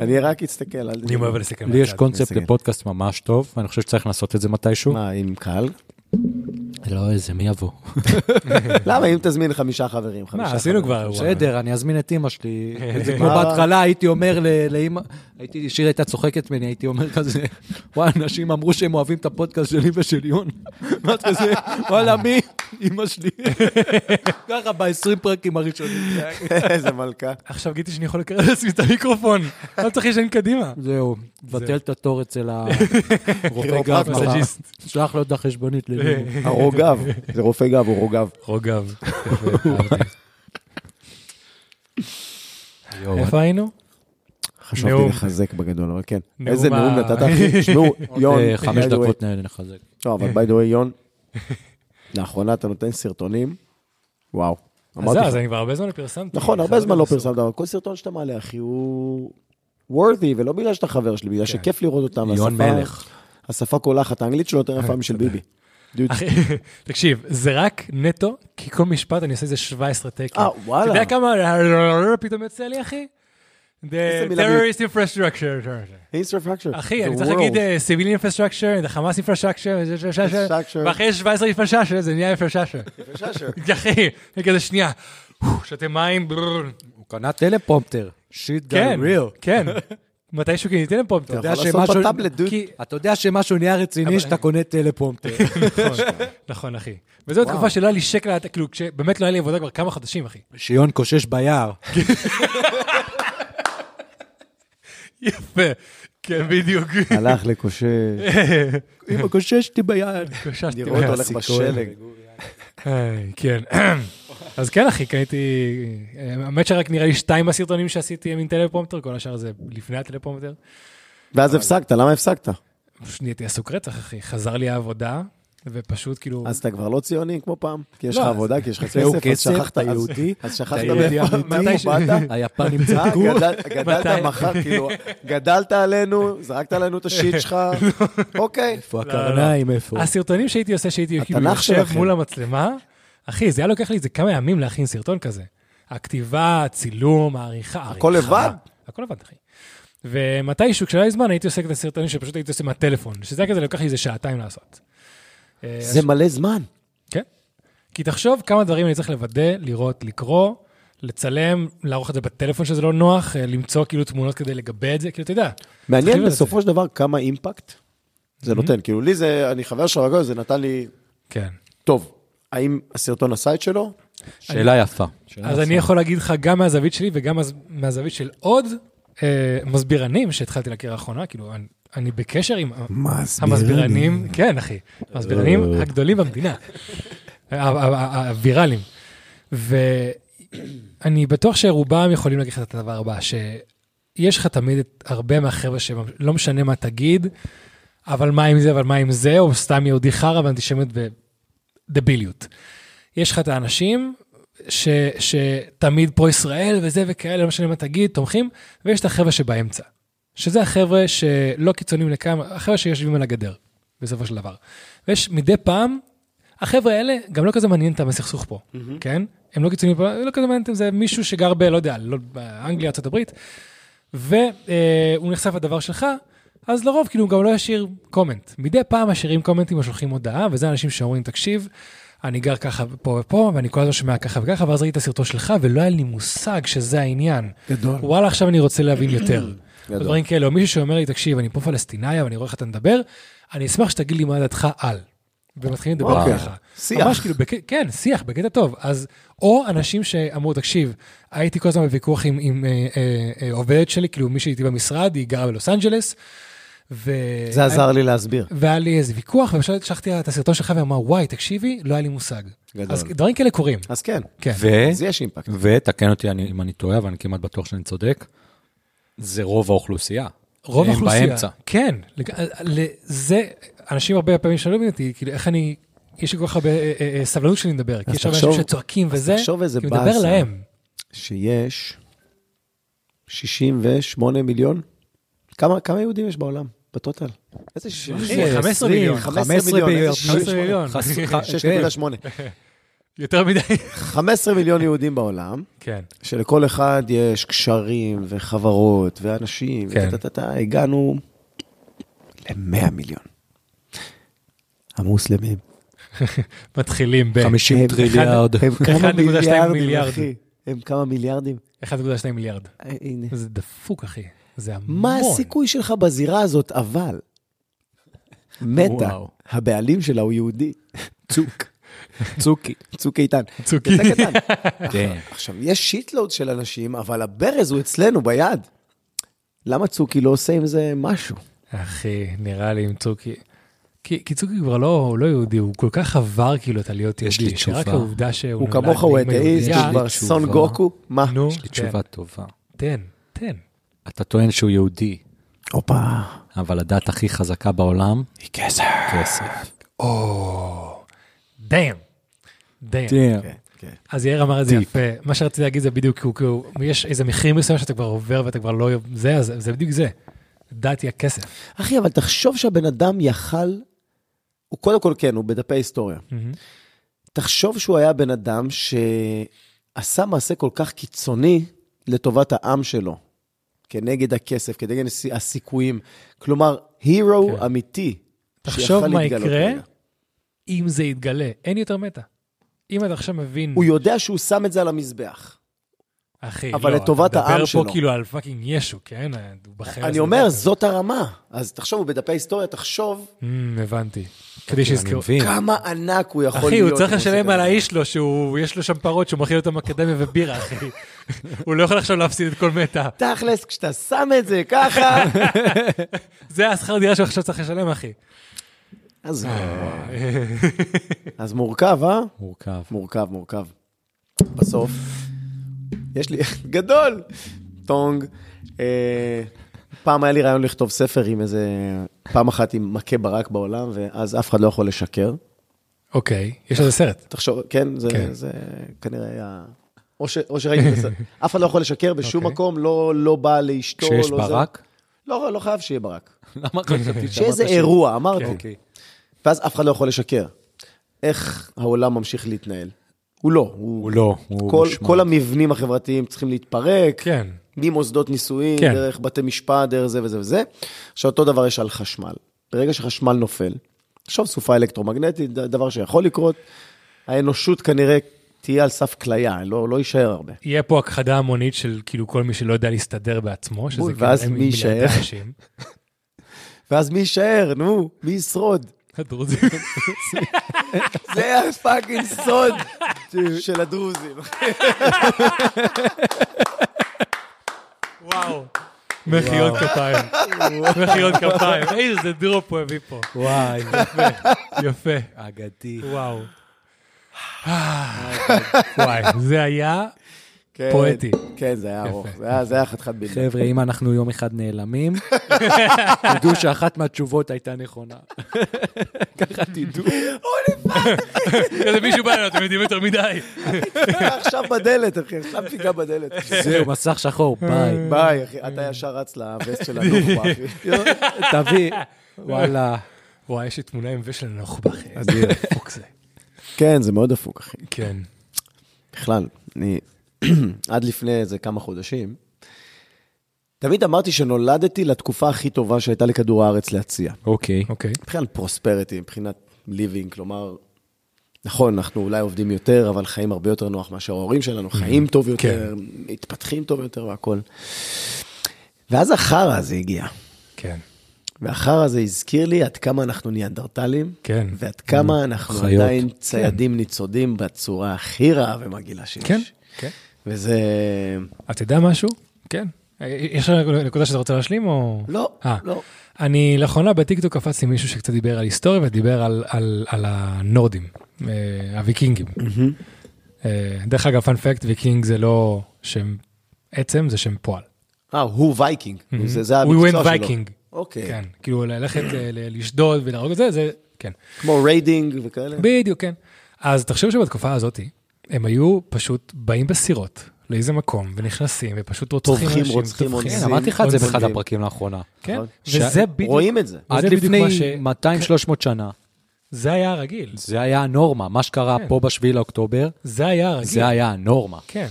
אני רק אסתכל, אל אני תדאג. אוהב להסתכל לי יש מהצד. קונספט בסדר. לפודקאסט ממש טוב, ואני חושב שצריך לעשות את זה מתישהו. מה, עם קהל? לא, איזה, מי יבוא? למה אם תזמין חמישה חברים? מה, חמישה עשינו חברים. כבר... בסדר, אני אזמין את אימא שלי. זה כמו מה? בהתחלה, הייתי אומר ל- לאימא, הייתי, שיר הייתה צוחקת ממני, הייתי אומר כזה, וואי, אנשים אמרו שהם אוהבים את הפודקאסט שלי ושל יון. ואת כזה, וואלה, מי? אימא שלי. ככה ב-20 פרקים הראשונים. איזה מלכה. עכשיו גיליתי שאני יכול לקרב לעצמי את המיקרופון. לא צריך לשן קדימה. זהו, בטל את התור אצל הרופא גב. כירופרקט. מחר. שלח לו את החשבונית ללימוד. הרוגב, זה רופא גב, הוא רוגב. רוגב. יואו, איפה היינו? חשבתי נאום. לחזק בגדול, אבל כן. נאום איזה ה- נאום נתת, אחי? תשמעו, יון, אה, חמש by the way- דקות נ- נחזק. לא, אבל ביי דווי, יון, לאחרונה אתה נותן סרטונים, וואו. אז אמרתי זהו, אז לך. אני כבר הרבה זמן לא פרסמתי. נכון, הרבה חייב זמן לא לעשות. פרסמת, אבל כל סרטון שאתה מעלה, אחי, הוא worthy, ולא בגלל שאתה חבר שלי, כן. בגלל שכיף לראות אותם. יון והשפה- מלך. השפה קולחת, האנגלית שלו יותר יפה משל ביבי. דוד, אחי, תקשיב, זה רק נטו, כי כל משפט אני עושה איזה 17 טקים. אה, וואלה. אתה יודע כמה פתאום יוצא לי, אחי? The מילה terrorist infrastructure. infrastructure. אחי, the אני צריך world. להגיד אה, civil infrastructure, the חמאס infrastructure, זה- זה- זה- זה- Infrastructure. ואחרי 17 infrastructure, זה נהיה infrastructure. Infrastructure. אחי, אני כזה שנייה, שותה מים, ברור. הוא קנה טלפרומפטר. שיט כן, גל ריל. כן. מתישהו קניתי להם פה, אתה אתה יודע, יודע יכול לעשות שמשהו- בטאבלט, דוד. כי- אתה יודע שמשהו נהיה רציני שאתה קונה טלפרומפטר. נכון, נכון, אחי. וזו התקופה שלא היה לי שקל, על הת- כאילו, כשבאמת לא היה לי עבודה כבר כמה חודשים, אחי. שיון קושש ביער. יפה. כן, בדיוק. הלך לקושש. אמא, קוששתי ביער. התאוששתי לראות מה- הולך בשלג. היי, כן. אז כן, אחי, קניתי... האמת שרק נראה לי שתיים מהסרטונים שעשיתי הם עם טלפרומפטר, כל השאר זה לפני הטלפרומפטר. ואז הפסקת, למה הפסקת? פשוט נהייתי עסוק רצח, אחי. חזר לי העבודה, ופשוט כאילו... אז אתה כבר לא ציוני כמו פעם? כי יש לא, לך אז- עבודה, כי יש לך כסף, זהו, אז כסף, שכחת אתה אז- יהודי, אז שכחת אתה יהודי מאיפה מתי ש- באת? היפנים אה, צדקו. גדל- גדלת מתי? מחר, כאילו, גדלת עלינו, זרקת עלינו את השיט שלך, לא. אוקיי. איפה הקרניים, איפה? אה, הסרטונים שהייתי עושה, שהייתי כאילו התנ"ך יושב שלכם. מול המצלמה, אחי, זה היה לוקח לי איזה כמה ימים להכין סרטון כזה. הכתיבה, הצילום, העריכה, הכל העריכה. לבד? הכל לבד, אחי. ומתישהו, כשהיה לי זמן, הייתי עושה את הסרטונים שפשוט הייתי עושה מהטלפון, שזה היה כזה, לקח לי איזה שעתיים לעשות. אה, זה מלא זמן. כן. כי תחשוב כמה דברים אני צריך לוודא, לראות, לקרוא, לצלם, לערוך את זה בטלפון שזה לא נוח, אה, למצוא כאילו תמונות כדי לגבה את זה, כאילו, אתה יודע. תתחיל מעניין לזה. בסופו של דבר כמה אימפקט Mm-hmm. זה נותן. כאילו, לי זה, אני חבר שלך והכל, זה נתן לי, כן. טוב, האם הסרטון עשה את שלו? שאלה יפה. כן. שאלה אז יפה. אני יכול להגיד לך גם מהזווית שלי וגם מהז- מהזווית של עוד אה, מסבירנים שהתחלתי להכיר לאחרונה, כאילו, אני- אני בקשר עם ה- המסבירנים, כן, אחי, המסבירנים הגדולים במדינה, ה- ה- ה- הוויראלים. ואני בטוח שרובם יכולים להגיד לך את הדבר הבא, שיש לך תמיד את הרבה מהחבר'ה שלא משנה מה תגיד, אבל מה עם זה, אבל מה עם זה, או סתם יהודי חרא ואנטישמיות ודביליות. יש לך את האנשים ש, שתמיד פה ישראל וזה וכאלה, לא משנה מה תגיד, תומכים, ויש את החבר'ה שבאמצע. שזה החבר'ה שלא קיצוניים לכמה, החבר'ה שיושבים על הגדר, בסופו של דבר. ויש מדי פעם, החבר'ה האלה גם לא כזה מעניין אותם הסכסוך פה, mm-hmm. כן? הם לא קיצוניים פה, לא כזה מעניין אותם, זה מישהו שגר ב... לא יודע, לא, באנגליה, ארה"ב, והוא אה, הוא נחשף לדבר שלך, אז לרוב כאילו הוא גם לא ישאיר קומנט. מדי פעם משאירים קומנטים או שולחים הודעה, וזה אנשים שאומרים, תקשיב, אני גר ככה ופה ופה, ואני כל הזמן שומע ככה וככה, ואז ראיתי את הסרטון שלך, ולא היה לי מושג שזה העניין. גדול. וואלה, עכשיו אני רוצה להבין יותר. גדול. דברים כאלה, או מישהו שאומר לי, תקשיב, אני פה פלסטינאי, אבל אני רואה איך אתה מדבר, אני אשמח שתגיד לי מה דעתך על. ומתחילים לדבר אוקיי, ככה. שיח. ממש כאילו, בק... כן, שיח, בקטע טוב. אז, או אנשים שאמרו, תקשיב, הייתי כל הזמן בוויכוח עם, עם אה, אה, אה, עובדת שלי, כאילו מישהי איתי במשרד, היא גרה בלוס אנג'לס, ו... זה עזר לי להסביר. והיה לי איזה ויכוח, ופשוט שלחתי לה את הסרטון שלך, והיא אמרה, וואי, תקשיבי, לא היה לי מושג. גדול. אז דברים כאלה קורים. אז כן, כן. ו... אז יש אימפקט. ותקן אותי אני- אם אני טועה, אבל אני כמעט בטוח שאני צודק, זה רוב האוכלוסייה. רוב הם האוכלוסייה. באמצע. אה, כן. לג... ל- זה, אנשים הרבה פעמים שאלו אותי, כאילו, איך אני, יש לי כל כך הרבה אה, אה, אה, סבלנות כשאני מדבר, כי יש הרבה אנשים תחשוב- שצועקים אז וזה, תחשוב איזה כי מדבר באסה. להם. שיש 68 מיליון, כמה כמה יהודים יש בעולם בטוטל? איזה 68? 15 מיליון. 15 מיליון, איזה 15 68? מיליון. חס- ח- 6.8. יותר מדי. 15 מיליון יהודים בעולם, כן. שלכל אחד יש קשרים וחברות ואנשים, כן. וטה-טה-טה, הגענו ל-100 מיליון. המוסלמים. מתחילים ב... 50 הם- טריליארד. הם כמה 1.2 מיליארדים, מיליארד. אחי. הם כמה מיליארדים. 1.2 מיליארד. אה, הנה. זה דפוק, אחי. זה המון. מה הסיכוי שלך בזירה הזאת, אבל? מטה, וואו. הבעלים שלה הוא יהודי. צוק. צוקי. צוק איתן. צוק. יצא קטן. כן. עכשיו, יש שיטלוד של אנשים, אבל הברז הוא אצלנו ביד. למה צוקי לא עושה עם זה משהו? אחי, נראה לי עם צוקי. כי, כי צוקי כבר לא, הוא לא יהודי, הוא כל כך עבר כאילו את הלהיות יש יהודי, לי שרק תשובה. העובדה שהוא הוא נולד כמוך, הוא לאמא אתאיסט, יהודייה- הוא כבר תשובה. סון גוקו, מה? נו, יש לי תשובה טובה. תן, תן. אתה טוען שהוא יהודי, הופה, אבל הדת הכי חזקה בעולם, היא כסף. כסף. או, דאם. דאם. כן, כן. אז יאיר אמר את זה יפה, מה שרציתי להגיד זה בדיוק, כאילו, כאילו, יש איזה מחיר מסוים שאתה כבר עובר ואתה כבר לא, זה, אז זה בדיוק זה. דת היא הכסף. אחי, אבל תחשוב שהבן אדם יכל, הוא קודם כל כן, הוא בדפי היסטוריה. תחשוב שהוא היה בן אדם שעשה מעשה כל כך קיצוני לטובת העם שלו, כנגד הכסף, כנגד הס- הסיכויים. כלומר, הירו כן. אמיתי. תחשוב שיכל מה להתגלות יקרה Mm. רגע. אם זה יתגלה, אין יותר מטה. אם אתה עכשיו מבין, הוא יודע שהוא שם את זה על המזבח. אחי, אבל לא, לטובת אתה העם מדבר שלו. פה כאילו על פאקינג ישו, כן? הוא בחרס אני אומר, לבטן. זאת הרמה. אז תחשוב, הוא בדפי היסטוריה, תחשוב אמ, הבנתי. כדי אני שיזכרו. מבין. כמה ענק הוא יכול להיות. אחי, הוא אם צריך עושה לשלם כזה על דבר. האיש לו, שהוא, יש לו שם פרות שהוא מכין אותם אקדמיה ובירה, אחי. הוא לא יכול עכשיו להפסיד את כל מטה. תכלס, כשאתה שם את זה ככה... זה השכר דירה שהוא עכשיו צריך לשלם, אחי. אז אה. אז מורכב, אה? מורכב. מורכב, מורכב. בסוף, יש לי, גדול, טונג. אה, פעם היה לי רעיון לכתוב ספר עם איזה, פעם אחת עם מכה ברק בעולם, ואז אף אחד לא יכול לשקר. אוקיי, יש לזה סרט. תחשוב, כן, זה, כן. כן. זה כנראה היה... או, ש, או שראיתי את הסרט. אף אחד לא יכול לשקר בשום okay. אוקיי. מקום, לא, לא בא לאשתו. כשיש לא זה. ברק, לא, לא חייב שיהיה ברק. למה חשבתי שאיזה שאמרת ש- אירוע, אמרתי. אוקיי. ואז אף אחד לא יכול לשקר. איך העולם ממשיך להתנהל? הוא לא. הוא, הוא לא, הוא כל, מושמד. כל המבנים החברתיים צריכים להתפרק, כן. ממוסדות נישואים, כן. כן. דרך בתי משפט, דרך זה וזה וזה. עכשיו, אותו דבר יש על חשמל. ברגע שחשמל נופל, עכשיו סופה אלקטרומגנטית, ד- דבר שיכול לקרות, האנושות כנראה תהיה על סף כליה, לא, לא יישאר הרבה. יהיה פה הכחדה המונית של כאילו כל מי שלא יודע להסתדר בעצמו, שזה בול, כאילו ואז הם מי יישאר? מיליארדי אנשים. ואז מי יישאר, נו? מי ישרוד? הדרוזים. זה הפאקינג סוד של הדרוזים. וואו. מחיאות כפיים. מחיאות כפיים. איזה דרופ הוא הביא פה. וואי, יפה. אגדי. וואו. וואי, זה היה כן, פואטי. כן, זה היה יפה. ארוך, זה היה- זה היה חתיכת בלתי. חבר'ה, אם אנחנו יום אחד נעלמים, תדעו שאחת מהתשובות הייתה נכונה. ככה כן, תדעו. איזה מישהו בא אלינו, אתם יודעים יותר מדי. עכשיו בדלת, אחי, עכשיו תיגע בדלת. זהו, מסך שחור, ביי. ביי, אחי, אתה ישר רץ לווסט של הנוח'בה, אחי. תביא, וואלה. וואי, יש לי תמונה עם ושל הנוח'בה, אחי. איזה אדיר. דפוק זה. כן, זה מאוד דפוק, אחי. כן. בכלל, אני עד לפני איזה כמה חודשים, תמיד אמרתי שנולדתי לתקופה הכי טובה שהייתה לכדור הארץ להציע. אוקיי. אוקיי. מבחינת פרוספרטי, מבחינת ליבינג, כלומר, נכון, אנחנו אולי עובדים יותר, אבל חיים הרבה יותר נוח מאשר ההורים שלנו, חיים טוב יותר, כן. מתפתחים טוב יותר והכול. ואז החרא הזה הגיע, כן. והחרא הזה הזכיר לי עד כמה אנחנו ניאנדרטלים, כן. ועד כמה אנחנו חיות. עדיין ציידים ניצודים בצורה הכי רעה ומגעילה שיש. כן. כן. וזה... אה, אתה יודע משהו? כן. יש לך נקודה שאתה רוצה להשלים או... לא, אה. לא. אני לאחרונה בטיקטוק קפצתי עם מישהו שקצת דיבר על היסטוריה ודיבר על, על, על הנורדים, אה, הוויקינגים. Mm-hmm. אה, דרך אגב, פאנפקט, ויקינג זה לא שם עצם, זה שם פועל. אה, הוא וייקינג, זה זה We המקצוע שלו. went Viking. אוקיי, כן, כאילו ללכת ל- ל- לשדוד ולהרוג את זה, זה, כן. כמו ריידינג וכאלה. בדיוק, כן. אז תחשוב שבתקופה הזאת, הם היו פשוט באים בסירות לאיזה מקום, ונכנסים, ופשוט רוצחים טובחים, אנשים. רוצחים, טובחים. כן, אונזים. אמרתי לך את זה באחד אונזים. הפרקים לאחרונה. כן, נכון. וזה בדיוק, רואים את זה. עד וזה בדיוק לפני מה ש- 200-300 שנה, זה היה הרגיל. זה היה הנורמה. מה שקרה כן. פה ב-7 לאוקטובר, זה היה הרגיל. זה היה הנורמה. כן.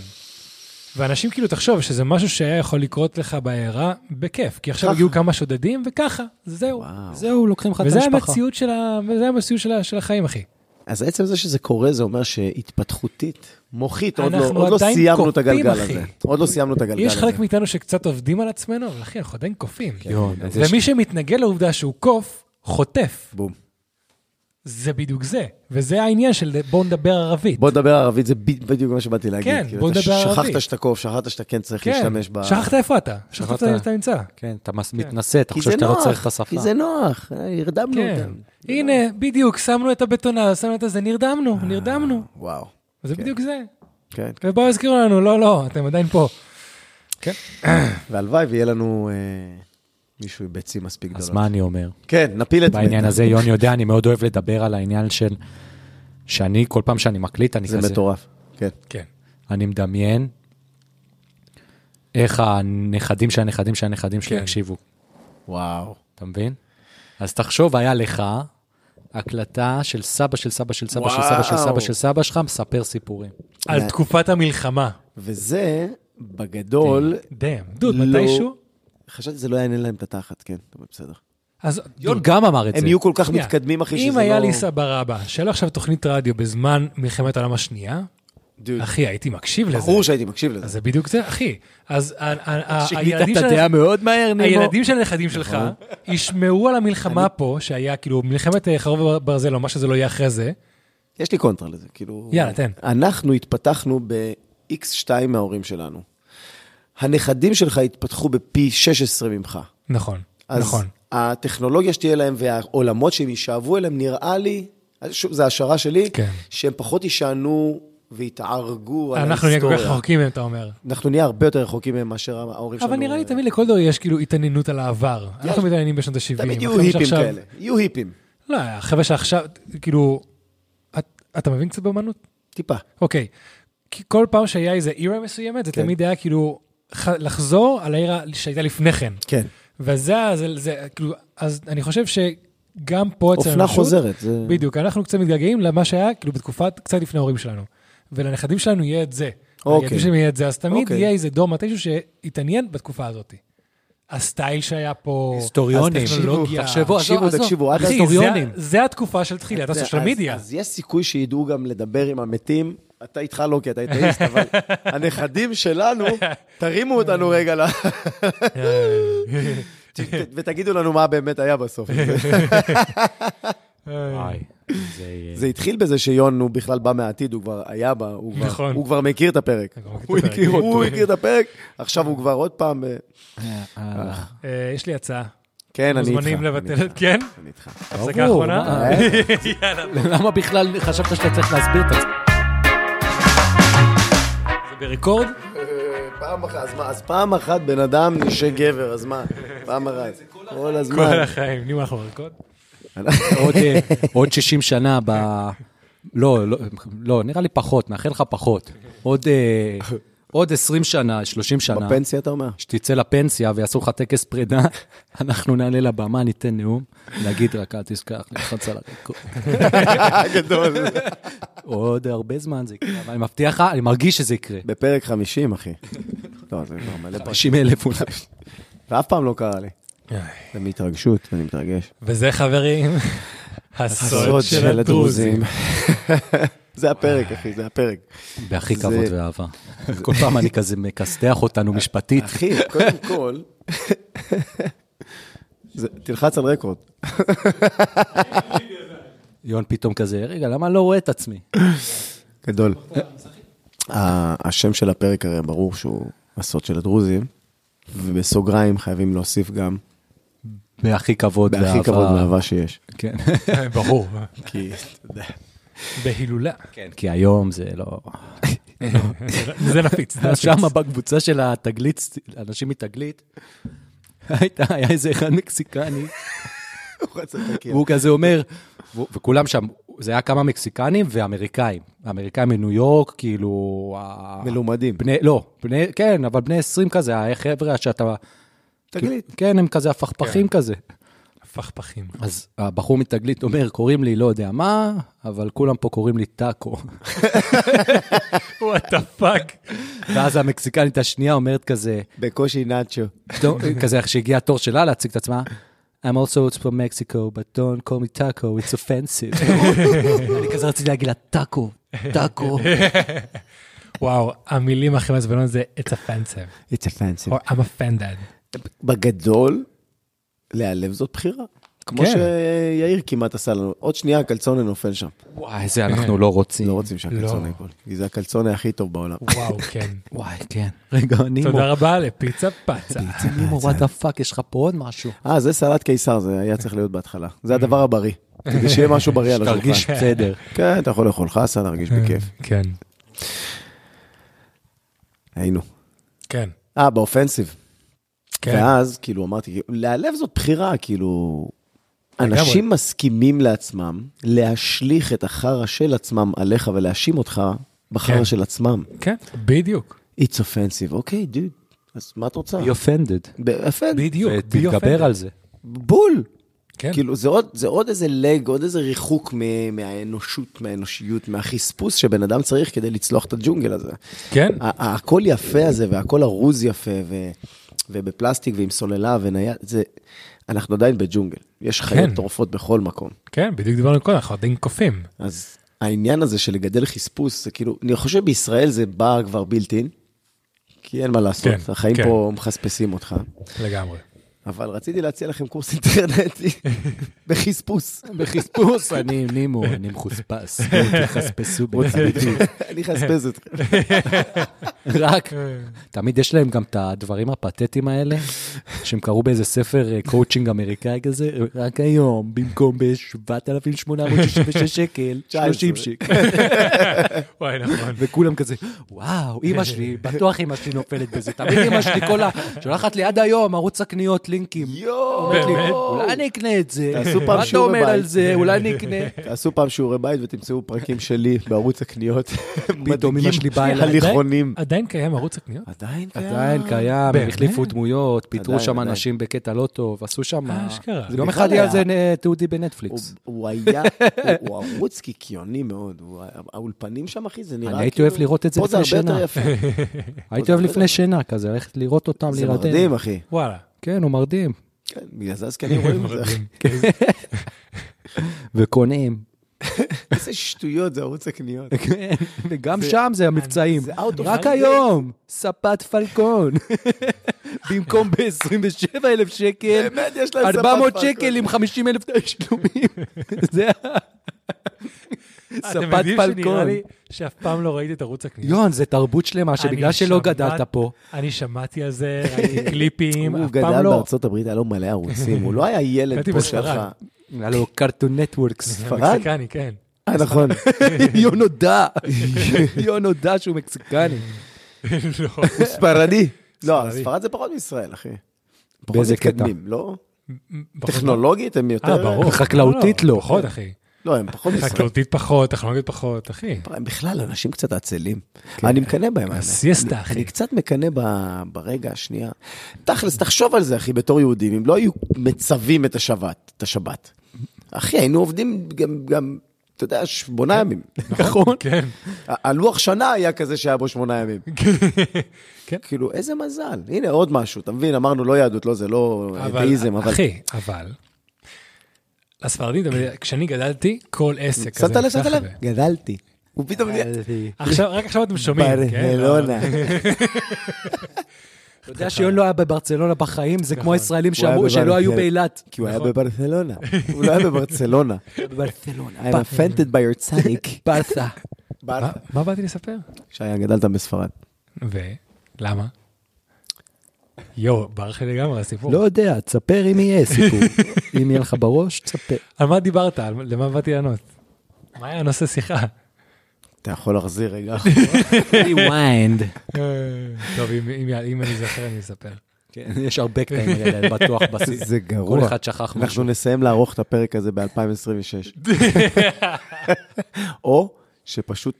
ואנשים כאילו, תחשוב שזה משהו שהיה יכול לקרות לך בעיירה בכיף, כי עכשיו ככה. הגיעו כמה שודדים וככה, זהו. וואו. זהו, לוקחים לך את וזה המשפחה. המציאות של ה- וזה המציאות של ה- של החיים, אחי. אז עצם זה שזה קורה, זה אומר שהתפתחותית, מוחית, עוד לא, אנחנו עוד לא עדיין סיימנו את קופים, הגלגל אחי. הזה. עוד לא סיימנו את הגלגל יש הזה. כן, חלק מאיתנו שקצת עובדים על עצמנו, אבל אחי, אנחנו עדיין קופים. יון, אז יש- ומי שמתנגד לעובדה שהוא קוף, חוטף. בום. זה בדיוק זה. וזה העניין של בואו נדבר ערבית. בוא נדבר ערבית, זה ב- בדיוק מה שבאתי להגיד. כן, כאילו, בוא אתה נדבר ערבית. שכחת שאתה קוף, שכחת שאתה כן צריך כן, להשתמש ב... שכחת איפה אתה, שכחת שכחת. איפה אתה נמצא. כן, אתה מס- מתנשא, אתה כי חושב זה שאתה לא צריך נוח, את השפה. כי זה נוח, אה, הרדמנו כן. אותם. הנה, בדיוק, שמנו את הבטונה, שמנו את הזה, נרדמנו, אה, נרדמנו. וואו, זה בדיוק זה. כן. ובואו יזכירו לנו, לא, לא, אתם עדיין פה. והלוואי ויהיה לנו אה, מישהו עם ביצים מספיק גדולות. אז מה אני אומר? כן, נפיל את זה. בעניין הזה, יוני יודע, אני מאוד אוהב לדבר על העניין של... שאני, כל פעם שאני מקליט, אני זה כזה... מטורף, כן. כן. אני מדמיין איך הנכדים של הנכדים של הנכדים שלי כן. יקשיבו, וואו. אתה מבין? אז תחשוב, היה לך הקלטה של סבא של סבא של סבא של סבא של סבא וואו. של סבא שלך מספר סיפורים. על תקופת המלחמה. וזה, בגדול, דאם. דוד, לא- מתישהו? חשבתי שזה לא יעניין להם את התחת, כן, אבל בסדר. אז יון גם אמר את זה. הם יהיו כל כך שנייה. מתקדמים, אחי, שזה לא... אם היה לי סבא רבא, שהיה לו עכשיו תוכנית רדיו בזמן מלחמת העולם השנייה, דוד, אחי, הייתי מקשיב לזה. ברור שהייתי מקשיב לזה. אז זה בדיוק זה, אחי. אז ה- ה- ה- שינית הילדים את הדעה של- מאוד מהר, נימו. הילדים של הנכדים שלך נכון. ישמעו על המלחמה פה, שהיה כאילו מלחמת אה, חרוב ברזל, או מה שזה לא יהיה אחרי זה. יש לי קונטרה לזה, כאילו... יאללה, תן. אנחנו התפתחנו ב-X2 מההורים שלנו. הנכדים שלך התפתחו בפי 16 ממך. נכון, נכון. אז הטכנולוגיה שתהיה להם והעולמות שהם יישאבו אליהם, נראה לי, אז שוב, זו השערה שלי, כן. שהם פחות יישענו והתערגו על אנחנו נהיה כל ההיסטוריה. כך רחוקים מהם, אתה אומר. אנחנו נהיה הרבה יותר רחוקים מהם מאשר ההורים שלנו. אבל נראה לי תמיד לכל דור יש כאילו התעניינות על העבר. אנחנו מתעניינים בשנות ה-70. תמיד יהיו היפים כאלה, יהיו היפים, לא, החבר'ה שעכשיו, כאילו, את- אתה מבין קצת באמנות? טיפה. אוקיי. כי כל פעם שהיה איזה עירה מסוימת, זה כן. תמיד היה כאילו ח- לחזור על העירה שהייתה לפני כן. כן. וזה, זה, זה, כאילו, אז אני חושב שגם פה אצל אופנה חוזרת. זה- בדיוק, אנחנו קצת מתגעגעים למה שהיה, כאילו, בתקופת, קצת לפני ההורים שלנו. ולנכדים שלנו יהיה את זה. אוקיי. הילדים שלי יהיה את זה, אז תמיד אוקיי. יהיה איזה דור מתישהו שהתעניין בתקופה הזאת. הסטייל שהיה פה, היסטוריונים. הטכנולוגיה. תחשבו, עזוב, תקשיבו, עזוב. תקשיבו, עד אחי, אז- אחי, זה- היסטוריונים. זה התקופה של תחילת זה- הסושיאל אז- מדיה. אז יש סיכוי שידעו גם לדבר עם המתים. אתה איתך לא, כי אתה אתאיסט, אבל הנכדים שלנו, תרימו אותנו רגע, ל- ת- ת- ותגידו לנו מה באמת היה בסוף. וואי, זה יהיה... זה התחיל בזה שיון הוא בכלל בא מהעתיד, הוא כבר היה בה, הוא כבר- נכון. הוא כבר מכיר את הפרק. הוא כבר הוא מכיר את הפרק. הכיר אותו. הוא הכיר את הפרק, עכשיו הוא כבר עוד פעם... ב- אה, יש לי הצעה. כן, אני איתך. מוזמנים אני לבטל את... איתך, כן? אני איתך. הפסקה ברור, אחרונה? מה? למה בכלל חשבת שאתה צריך להסביר את עצמך? זה ברקורד? פעם אחת, אז מה, אז פעם אחת בן אדם נשק גבר, אז מה? פעם אחת. כל כל הזמן. החיים. נו, אנחנו ברקוד? עוד, אה, עוד 60 שנה ב... לא, לא, לא, נראה לי פחות, מאחל לך פחות. עוד, אה, עוד 20 שנה, 30 שנה, בפנסיה אתה אומר? שתצא לפנסיה ויעשו לך טקס פרידה, אנחנו נעלה לבמה, ניתן נאום, נגיד רק אל תשכח, נלחץ על הרקוד. גדול. עוד הרבה זמן זה יקרה, אבל אני מבטיח לך, אני מרגיש שזה יקרה. בפרק 50, אחי. לא, זה כבר מלא פרקים. 90 אלף אולי. ואף פעם לא קרה לי. זה מהתרגשות, אני מתרגש. וזה, חברים, הסוד של הדרוזים. זה הפרק, אחי, זה הפרק. בהכי זה- כבוד ואהבה. כל פעם אני כזה מכסתח אותנו משפטית. אחי, קודם כל... זה- תלחץ על רקורד. יון פתאום כזה, רגע, למה אני לא רואה את עצמי? גדול. ה- השם של הפרק הרי ברור שהוא הסוד של הדרוזים, ובסוגריים חייבים להוסיף גם, בהכי כבוד ואהבה. בהכי כבוד ואהבה שיש. כן. ברור. כי, אתה יודע, בהילולה. כן, כי היום זה לא... זה נפיץ. זה נפיץ. שם בקבוצה של התגלית, אנשים מתגלית, הייתה, היה איזה אחד מקסיקני, הוא רץ את הקיר. והוא כזה אומר, ו- וכולם שם, זה היה כמה מקסיקנים ואמריקאים. האמריקאים מניו יורק, כאילו... ה- מלומדים. בני, לא, בני, כן, אבל בני 20 כזה, החבר'ה שאתה... תגלית. כאילו, כן, הם כזה הפכפכים כזה. פכפכים. אז הבחור מתגלית אומר, קוראים לי לא יודע מה, אבל כולם פה קוראים לי טאקו. וואטה פאק. ואז המקסיקנית השנייה אומרת כזה, בקושי נאצ'ו. don't- כזה איך שהגיע התור שלה להציג את עצמה. I'm also from Mexico, but don't call me taco, it's offensive. אני כזה רציתי להגיד לה, טאקו, טאקו. וואו, המילים הכי מעצבנות זה It's offensive, It's offensive. or I'm offended. בגדול, להיעלב זאת בחירה. כמו כן. שיאיר כמעט עשה לנו. עוד שנייה הקלצונה נופל שם. וואי, זה אנחנו לא רוצים. לא רוצים שהקלצונה לא. ייפול. כי זה הקלצונה הכי טוב בעולם. וואו, כן. וואי, כן. רגע, נימו, תודה רבה לפיצה פצה. נימו, what the fuck, יש לך פה עוד משהו? אה, זה סלט קיסר, זה היה צריך להיות בהתחלה. זה הדבר הבריא. כדי שיהיה משהו בריא על השולחן. תרגיש בסדר. כן, אתה יכול לאכול חסה, להרגיש בכיף. כן. היינו. כן. אה, באופנסיב. כן. ואז, כאילו, אמרתי, כאילו, להיעלב זאת בחירה, כאילו... אנשים מסכימים לעצמם להשליך את החרא של עצמם עליך ולהאשים אותך בחרא כן. של עצמם. כן, בדיוק. It's offensive, אוקיי, דוד, אז מה את רוצה? Be offended. באפן, בדיוק. תתגבר על זה. בול. כן. כאילו, זה עוד, זה עוד איזה לג, עוד איזה ריחוק מ- מהאנושות, מהאנושיות, מהחספוס שבן אדם צריך כדי לצלוח את הג'ונגל הזה. כן. ה- ה- הכל יפה הזה, והכל ארוז יפה, ו... ובפלסטיק ועם סוללה ונייד, זה... אנחנו עדיין בג'ונגל. יש חיות כן. טורפות בכל מקום. כן, בדיוק דיברנו קודם, אנחנו עדיין קופים. אז העניין הזה של לגדל חספוס, זה כאילו, אני חושב בישראל זה בא כבר בילט אין, כי אין מה לעשות, כן, החיים כן. פה מחספסים אותך. לגמרי. אבל רציתי להציע לכם קורס אינטרנטי בחספוס. בחספוס, אני נימו, אני מחוספס. בואו תחספסו ביחד. אני אחספס אתכם. רק, תמיד יש להם גם את הדברים הפתטיים האלה, שהם קראו באיזה ספר אה, קואוצ'ינג אמריקאי כזה, רק היום, במקום ב-7,866 שקל, 30 שקל. וואי, נכון. וכולם כזה, וואו, אימא שלי, בטוח אימא שלי נופלת בזה. תמיד אימא שלי כל ה... שולחת לי עד היום ערוץ הקניות לינקים. יואו! אומרת לי, באמת? אולי אני אקנה את זה. תעשו פעם מה אתה שיעורי אומר בית. על זה? אולי אני אקנה. תעשו פעם שיעורי בית ותמצאו פרקים שלי בערוץ הקניות. פתאום אמא שלי באה אליי. הליכונים. עדיין קיים ערוץ הקניות? אה, עדיין קיים. עדיין קיים, הם באמת? החליפו דמויות, פיטרו עדיין, שם עדיין. אנשים בקטע לא טוב, עשו שם... אשכרה. זה יום בכלל אחד יהיה על היה. זה אה, תיעודי הוא- בנטפליקס. הוא היה, הוא- הוא ערוץ קיקיוני מאוד. הוא- האולפנים שם, אחי, זה נראה כאילו... אני הייתי אוהב לראות את זה פה זה לפני הרבה יותר יפה. הייתי אוהב לפני שינה כזה, ללכת לראות אותם, לא זה להירדם. מרדים, אחי. וואלה. כן, הוא מרדים. כן, בגלל זה הזקנים רואים את זה. אחי. וקונים. איזה שטויות, זה ערוץ הקניות. כן, וגם שם זה המבצעים. זה out of רק context. היום, ספת פלקון. במקום ב-27,000 שקל, באמת, יש להם ספק 400 פאקו. שקל עם 50,000 תשלומים. זה ה- אתם ספת יודעים שנראה פלקון. לי שאף פעם לא ראיתי את ערוץ הקניות. יון, זה תרבות שלמה שבגלל אני שלא שמעת- גדלת פה, אני שמעתי על זה, ראיתי קליפים, הוא אף פעם גדל לא. בארצות הברית, היה לו מלא ערוצים, הוא לא היה ילד הייתי פה בספרד. שלך. היה לו קרטון נטוורקס. ספרד? מקסיקני, כן. אה, נכון. יון הודה, יון הודה שהוא מקסיקני. לא. הוא ספרדי. לא, ספרד זה פחות מישראל, אחי. פחות באיזה קטע? מתקדמים, לא? פחות- טכנולוגית הם אה, יותר... ברור. חקלאותית לא. פחות, אחי. לא, הם פחות מישראל. חקלאותית פחות, טכנולוגית פחות, אחי. הם בכלל אנשים קצת עצלים. כן. אני מקנא בהם. האמת. הסיאסטה, אני- אחי. אני קצת מקנא ב- ברגע השנייה. תכלס, תחשוב על זה, אחי, בתור יהודים, אם לא היו מצווים את השבת, את השבת. אחי, היינו עובדים גם, גם, אתה יודע, שמונה ימים. נכון. כן. ה- הלוח שנה היה כזה שהיה בו שמונה ימים. כן. כאילו, איזה מזל. הנה, עוד משהו, אתה מבין? אמרנו, לא יהדות, לא זה, לא אבל, אתאיזם, אבל... אחי, אבל, לספרדים, אתה יודע, כשאני גדלתי, כל עסק כזה. שמת לב, שמת נפתח לב? ב- גדלתי. הוא פתאום... עכשיו, רק עכשיו אתם שומעים, כן? ברלונה. אתה יודע שיון לא היה בברצלונה בחיים, זה כמו הישראלים הוא היה שאמרו שלא היו בברצל- באילת. נכון. כי הוא היה בברצלונה. הוא לא היה בברצלונה. בברצלונה. I'm offended by your tzaddik. ברסה. מה- מה באתי לספר? שהיה גדלת בספרד. ולמה? יואו, ברח לי לגמרי הסיפור. לא יודע, תספר אם יהיה סיפור. אם יהיה לך בראש, תספר. על מה דיברת? על- למה באתי לענות? מה היה נושא שיחה? אה. אתה יכול להחזיר רגע. rewind. טוב, אם- אם אם אני זוכר, אני אספר. כן, יש הרבה קטעים האלה, בטוח בסיס. זה גרוע. כל אחד שכח משהו. אנחנו נסיים לערוך את הפרק הזה ב-2026. או שפשוט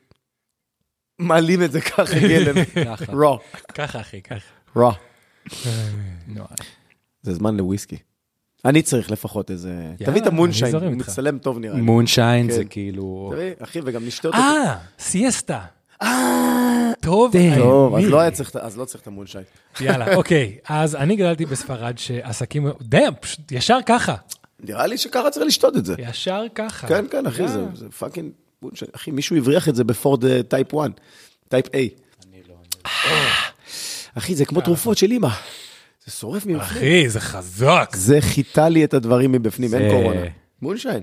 מעלים את זה ככה גלם. ככה. רוע. ככה, אחי, ככה. רוע. נו, זה זמן לוויסקי. אני צריך לפחות איזה... יאללה, תביא את המונשיין, אני זורם הוא איתך. מצטלם טוב נראה לי. מונשיין זה כן. כאילו... תביא, אחי, וגם נשתה אותו. אה, סיאסטה. טוב, אה. טוב, אז האמת. לא היה צריך את- אז לא צריך את המונשיין. יאללה, אוקיי. אז אני גדלתי בספרד שעסקים, דאם, פשוט ישר ככה. נראה לי שככה צריך לשתות את זה. ישר ככה. כן, כן, אחי, זה- זה פאקינג... בונשיין. אחי, מישהו הבריח את זה בפורד אה, טייפ 1, טייפ A. אה, אחי, זה כמו אה. תרופות של אימא. זה שורף ממך. אחי, זה חזק. זה חיטה לי את הדברים מבפנים, אין זה- קורונה. מונשיין,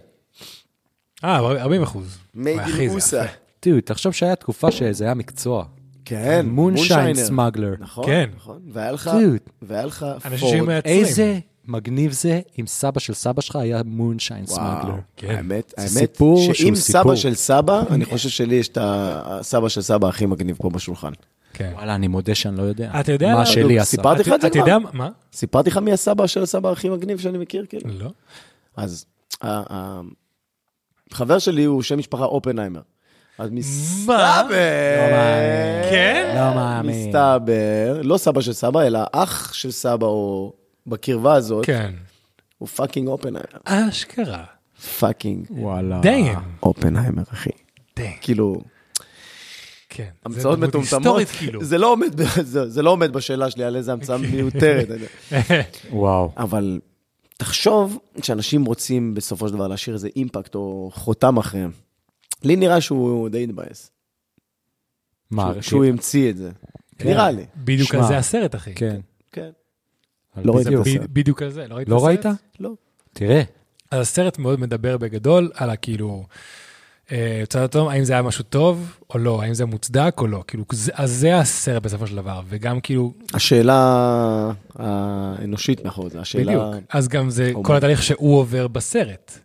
אה, 40 אחוז. אחי, זה מייגילוסה. יפה. תראו, תחשוב שהיה תקופה שזה היה מקצוע. כן, מונשיין מונשיינר. סמגלר. נכון, כן. נכון. והיה לך, Dude. והיה לך אנשים פורד. מייצרים. איזה מגניב זה אם סבא של סבא שלך היה מונשיין סמגלר. כן. האמת, זה האמת, סיפור שאם שהוא סבא סיפור. של סבא, אני חושב שלי יש את הסבא של סבא הכי מגניב פה בשולחן. כן. וואלה, אני מודה שאני לא יודע. אתה יודע למה? מה שלי עשה. סיפרתי לך את זה אתה יודע מה? סיפרתי לך מי הסבא של הסבא הכי מגניב שאני מכיר, כאילו? לא. אז ה- ה- חבר שלי הוא שם משפחה אופנהיימר. אז מסתבר... כן? לא מאמין. מסתבר, לא סבא של סבא, אלא אח של סבא, או בקרבה הזאת, כן. הוא פאקינג אופנהיימר. אשכרה. פאקינג וואלה. דיין. אופנהיימר, אחי. דיין. כאילו, כן. זה המצאות דמות מטומטמות, היסטורית, כאילו. אוקיי. זה לא עומד ב- זה- זה לא עומד בשאלה שלי על איזה המצאה מיותרת. וואו. אבל תחשוב שאנשים רוצים בסופו של דבר להשאיר איזה אימפקט או חותם אחריהם. לי נראה שהוא די התבאס, מה, שהוא- שהוא המציא את זה. כן. כן. נראה לי, בדיוק על שמע. זה הסרט, אחי. כן. כן. אבל לא ראיתי בדיוק. אותו. ב- בדיוק על זה. לא ראית? את לא הסרט? ראית? לא. תראה, אז הסרט מאוד מדבר בגדול על הכאילו, אה, צד התום, האם זה היה משהו טוב או לא, האם זה מוצדק או לא, כאילו, זה- אז זה הסרט בסופו של דבר, וגם כאילו, השאלה האנושית מאחורי זה, השאלה... בדיוק, אז גם זה אומן. כל התהליך שהוא עובר בסרט.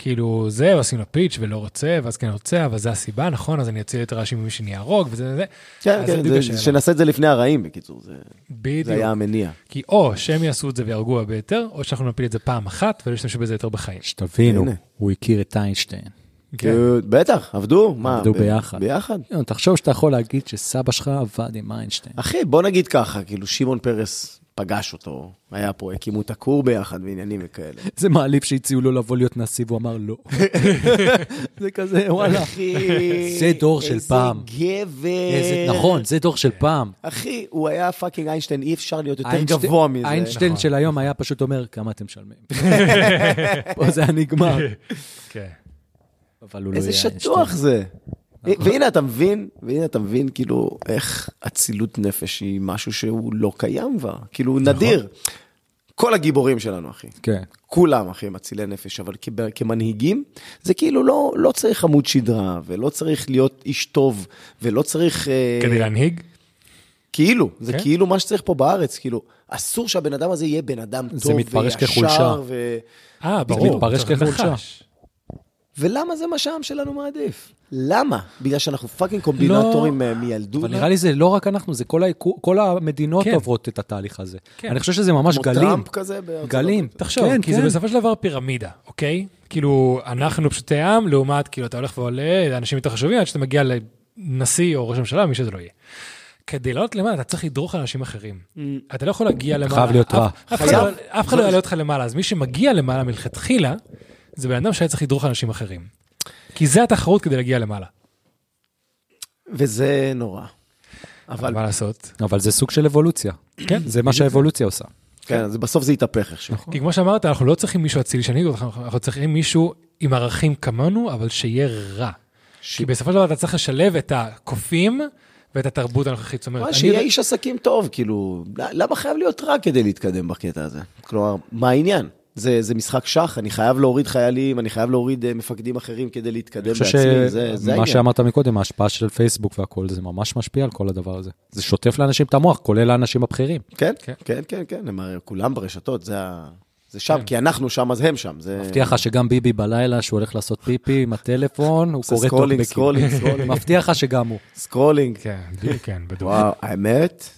כאילו, זה, עשינו פיץ' ולא רוצה, ואז כן רוצה, אבל זה הסיבה, נכון, אז אני אציל את הרעשים ממי שאני אהרוג, וזה וזה. כן, אז זה כן, בדיוק זה- השאלה. שנעשה את זה לפני הרעים, בקיצור, זה- זה בדיוק. היה המניע. כי או שהם יעשו את זה ויהרגו הרבה יותר, או שאנחנו נפיל את זה פעם אחת ולא ישתמשו בזה יותר בחיים. שתבינו, הנה. הוא הכיר את איינשטיין. כן. כאילו, בטח, עבדו, מה? עבדו ב- ביחד. ביחד. יואו, תחשוב שאתה יכול להגיד שסבא שלך עבד עם איינשטיין. אחי, בוא נגיד ככה, כאילו, שמעון פרס פגש אותו, היה פה, הקימו את הכור ביחד ועניינים וכאלה. זה מעליב שהציעו לו לבוא להיות נשיא והוא אמר לא. זה כזה, וואלה. אחי, לא. זה דור של פעם. איזה גבר. איזה- נכון, זה דור של פעם. אחי, הוא היה פאקינג איינשטיין, אי אפשר להיות יותר איינשטיין- גבוה מזה. איינשטיין של היום היה פשוט אומר, כמה אתם משלמים. פה זה היה נגמר. כן. אבל הוא לא איזה יהיה איינשטיין. נכון. שטוח זה. והנה אתה מבין, והנה אתה מבין כאילו איך אצילות נפש היא משהו שהוא לא קיים בה, כאילו נכון. הוא נדיר. כל הגיבורים שלנו אחי, כן. כולם אחי הם אצילי נפש, אבל כב- כמנהיגים זה כאילו לא, לא צריך עמוד שדרה ולא צריך להיות איש טוב ולא צריך... אה, כדי להנהיג? כאילו, זה כן. כאילו מה שצריך פה בארץ, כאילו אסור שהבן אדם הזה יהיה בן אדם טוב זה מתפרש וישר כחולשה. ו... אה, ברור. מתפרש צריך להיות כחולשה. נחש. ולמה זה מה שהעם שלנו מעדיף? למה? בגלל שאנחנו פאקינג קומבינטורים אה, מילדות? לא, אבל נראה לי זה לא רק אנחנו, זה כל היקו- כל המדינות כן. עוברות את התהליך הזה. כן. אני חושב שזה ממש כמו גלים. טראמפ כזה בארצות גלים. הברית. תחשוב, כן, כי זה כן. בסופו של דבר פירמידה, אוקיי? כאילו, אנחנו פשוטי עם, לעומת, כאילו, אתה הולך ועולה, אנשים יותר חשובים, עד שאתה מגיע לנשיא או ראש ממשלה, מי שזה לא יהיה. כדי לעלות למעלה, אתה צריך לדרוך על אנשים אחרים. אתה לא יכול להגיע למעלה. חייב להיות אף- רע. אף אחד חייב. לא- אף אחד לא יעלה אותך למעלה, אז מי שמגיע למעלה מלכתחילה, זה בן אדם שהיה צריך לדרוך על אנשים אחרים. כי זה התחרות כדי להגיע למעלה. וזה נורא. אבל מה לעשות? אבל זה סוג של אבולוציה. כן. זה מה שהאבולוציה עושה. כן, אז בסוף זה יתהפך איכשהו. כי כמו שאמרת, אנחנו לא צריכים מישהו אצילי שינהיג אותך, אנחנו צריכים מישהו עם ערכים כמונו, אבל שיהיה רע. נכון. כי בסופו של דבר אתה צריך לשלב את הקופים ואת התרבות הנוכחית. זאת אומרת, אבל אני לא- שיהיה יודע- איש עסקים טוב, כאילו, למה חייב להיות רע כדי להתקדם בקטע הזה? כלומר, מה העניין? זה, זה משחק שח, אני חייב להוריד חיילים, אני חייב להוריד אה, מפקדים אחרים כדי להתקדם אני חושב בעצמי, זה, זה שמה העניין. שאמרת מקודם, ההשפעה של פייסבוק והכל, זה ממש משפיע על כל הדבר הזה. זה שוטף לאנשים את המוח, כולל האנשים הבכירים. כן, כן. כן, כן, כן, הם הרי כולם ברשתות, זה, ה- זה שם, כי אנחנו שם אז הם שם. זה... מבטיח לך שגם ביבי בלילה, שהוא הולך לעשות פיפי עם הטלפון, הוא עושה קורא סקרולינג, טוקבקים. סקרולינג, סקרולינג, מבטיח לך שגם הוא. סקרולינג. כן, בדיוק, כן, בדיוק. וואו, האמת,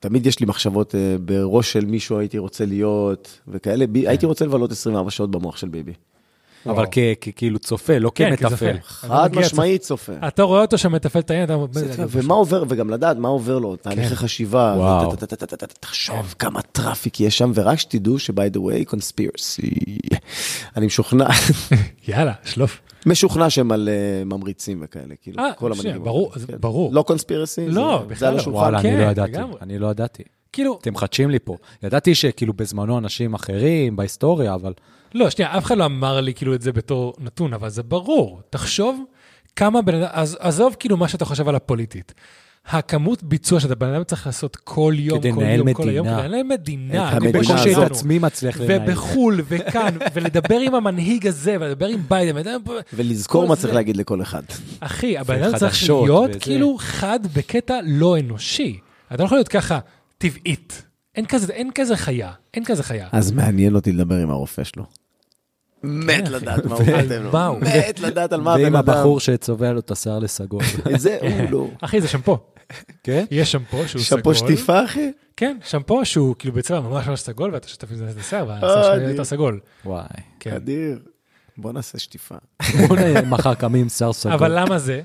תמיד יש לי מחשבות אה, בראש של מישהו הייתי רוצה להיות, וכאלה, בי- הייתי רוצה לבלות 24 שעות במוח של ביבי. אבל וואו. כ- כ- כאילו צופה, לא כן, כצופה. כמתפעל. חד משמעית צופה. אתה רואה אותו שם מתפעל את העניין, אתה אומר, "זה- זה- ומה עובר, וגם לדעת מה עובר לו, תהליכי חשיבה, וואו. וטה-טה-טה-טה-טה, תחשוב כמה טראפיק יש שם, ורק שתדעו שביי דה ווי, קונספירסי. אני משוכנע, יאללה, שלוף. משוכנע שהם על אה, ממריצים וכאלה, כאילו, אה, כל שנייה, המנהיגים. ברור, האלה, זה כן. ברור. לא קונספירסי, לא, זה- בכלל זה על לא. השולחן. וואלה, אני כן, לא ידעתי, לגמרי. אני לא ידעתי. כאילו, אתם מחדשים לי פה. ידעתי שכאילו בזמנו אנשים אחרים, בהיסטוריה, אבל לא, שנייה, אף אחד לא אמר לי כאילו את זה בתור נתון, אבל זה ברור. תחשוב כמה בן אדם, אז עזוב כאילו מה שאתה חושב על הפוליטית. הכמות ביצוע שאתה בן אדם צריך לעשות כל יום, כדי כל לנהל יום, כל היום, מדינה. כדי לנהל מדינה. את כמו המדינה שלנו. הזאת. בקושי את עצמי מצליח לנהל. ובחול, וכאן, ולדבר עם המנהיג הזה, ולדבר עם ביידן, ולדבר- ולזכור כל מה זה. צריך להגיד לכל אחד. אחי, הבן אדם צריך וחדשות להיות וזה. כאילו חד בקטע לא אנושי. אתה לא יכול להיות ככה, טבעית. אין כזה, אין כזה חיה, אין כזה חיה. אז מעניין אותי לדבר עם הרופא שלו. מת לדעת מה הוא כותב לו. מה הוא? מת לדעת על מה הבן אדם. ועם הבחור שצובע לו את השיער לסגול. זה הוא לא. אחי, זה שמפו. כן? יש שמפו שהוא סגול. שמפו שטיפה אחי? כן, שמפו שהוא כאילו בצבע ממש ממש סגול, ואתה שותף עם זה את השיער, אה, והשיער שלך אדיר. יותר סגול. וואי. כן. אדיר. בוא נעשה שטיפה. בוא נ- מחר קמים עם שיער סגול. אבל למה זה?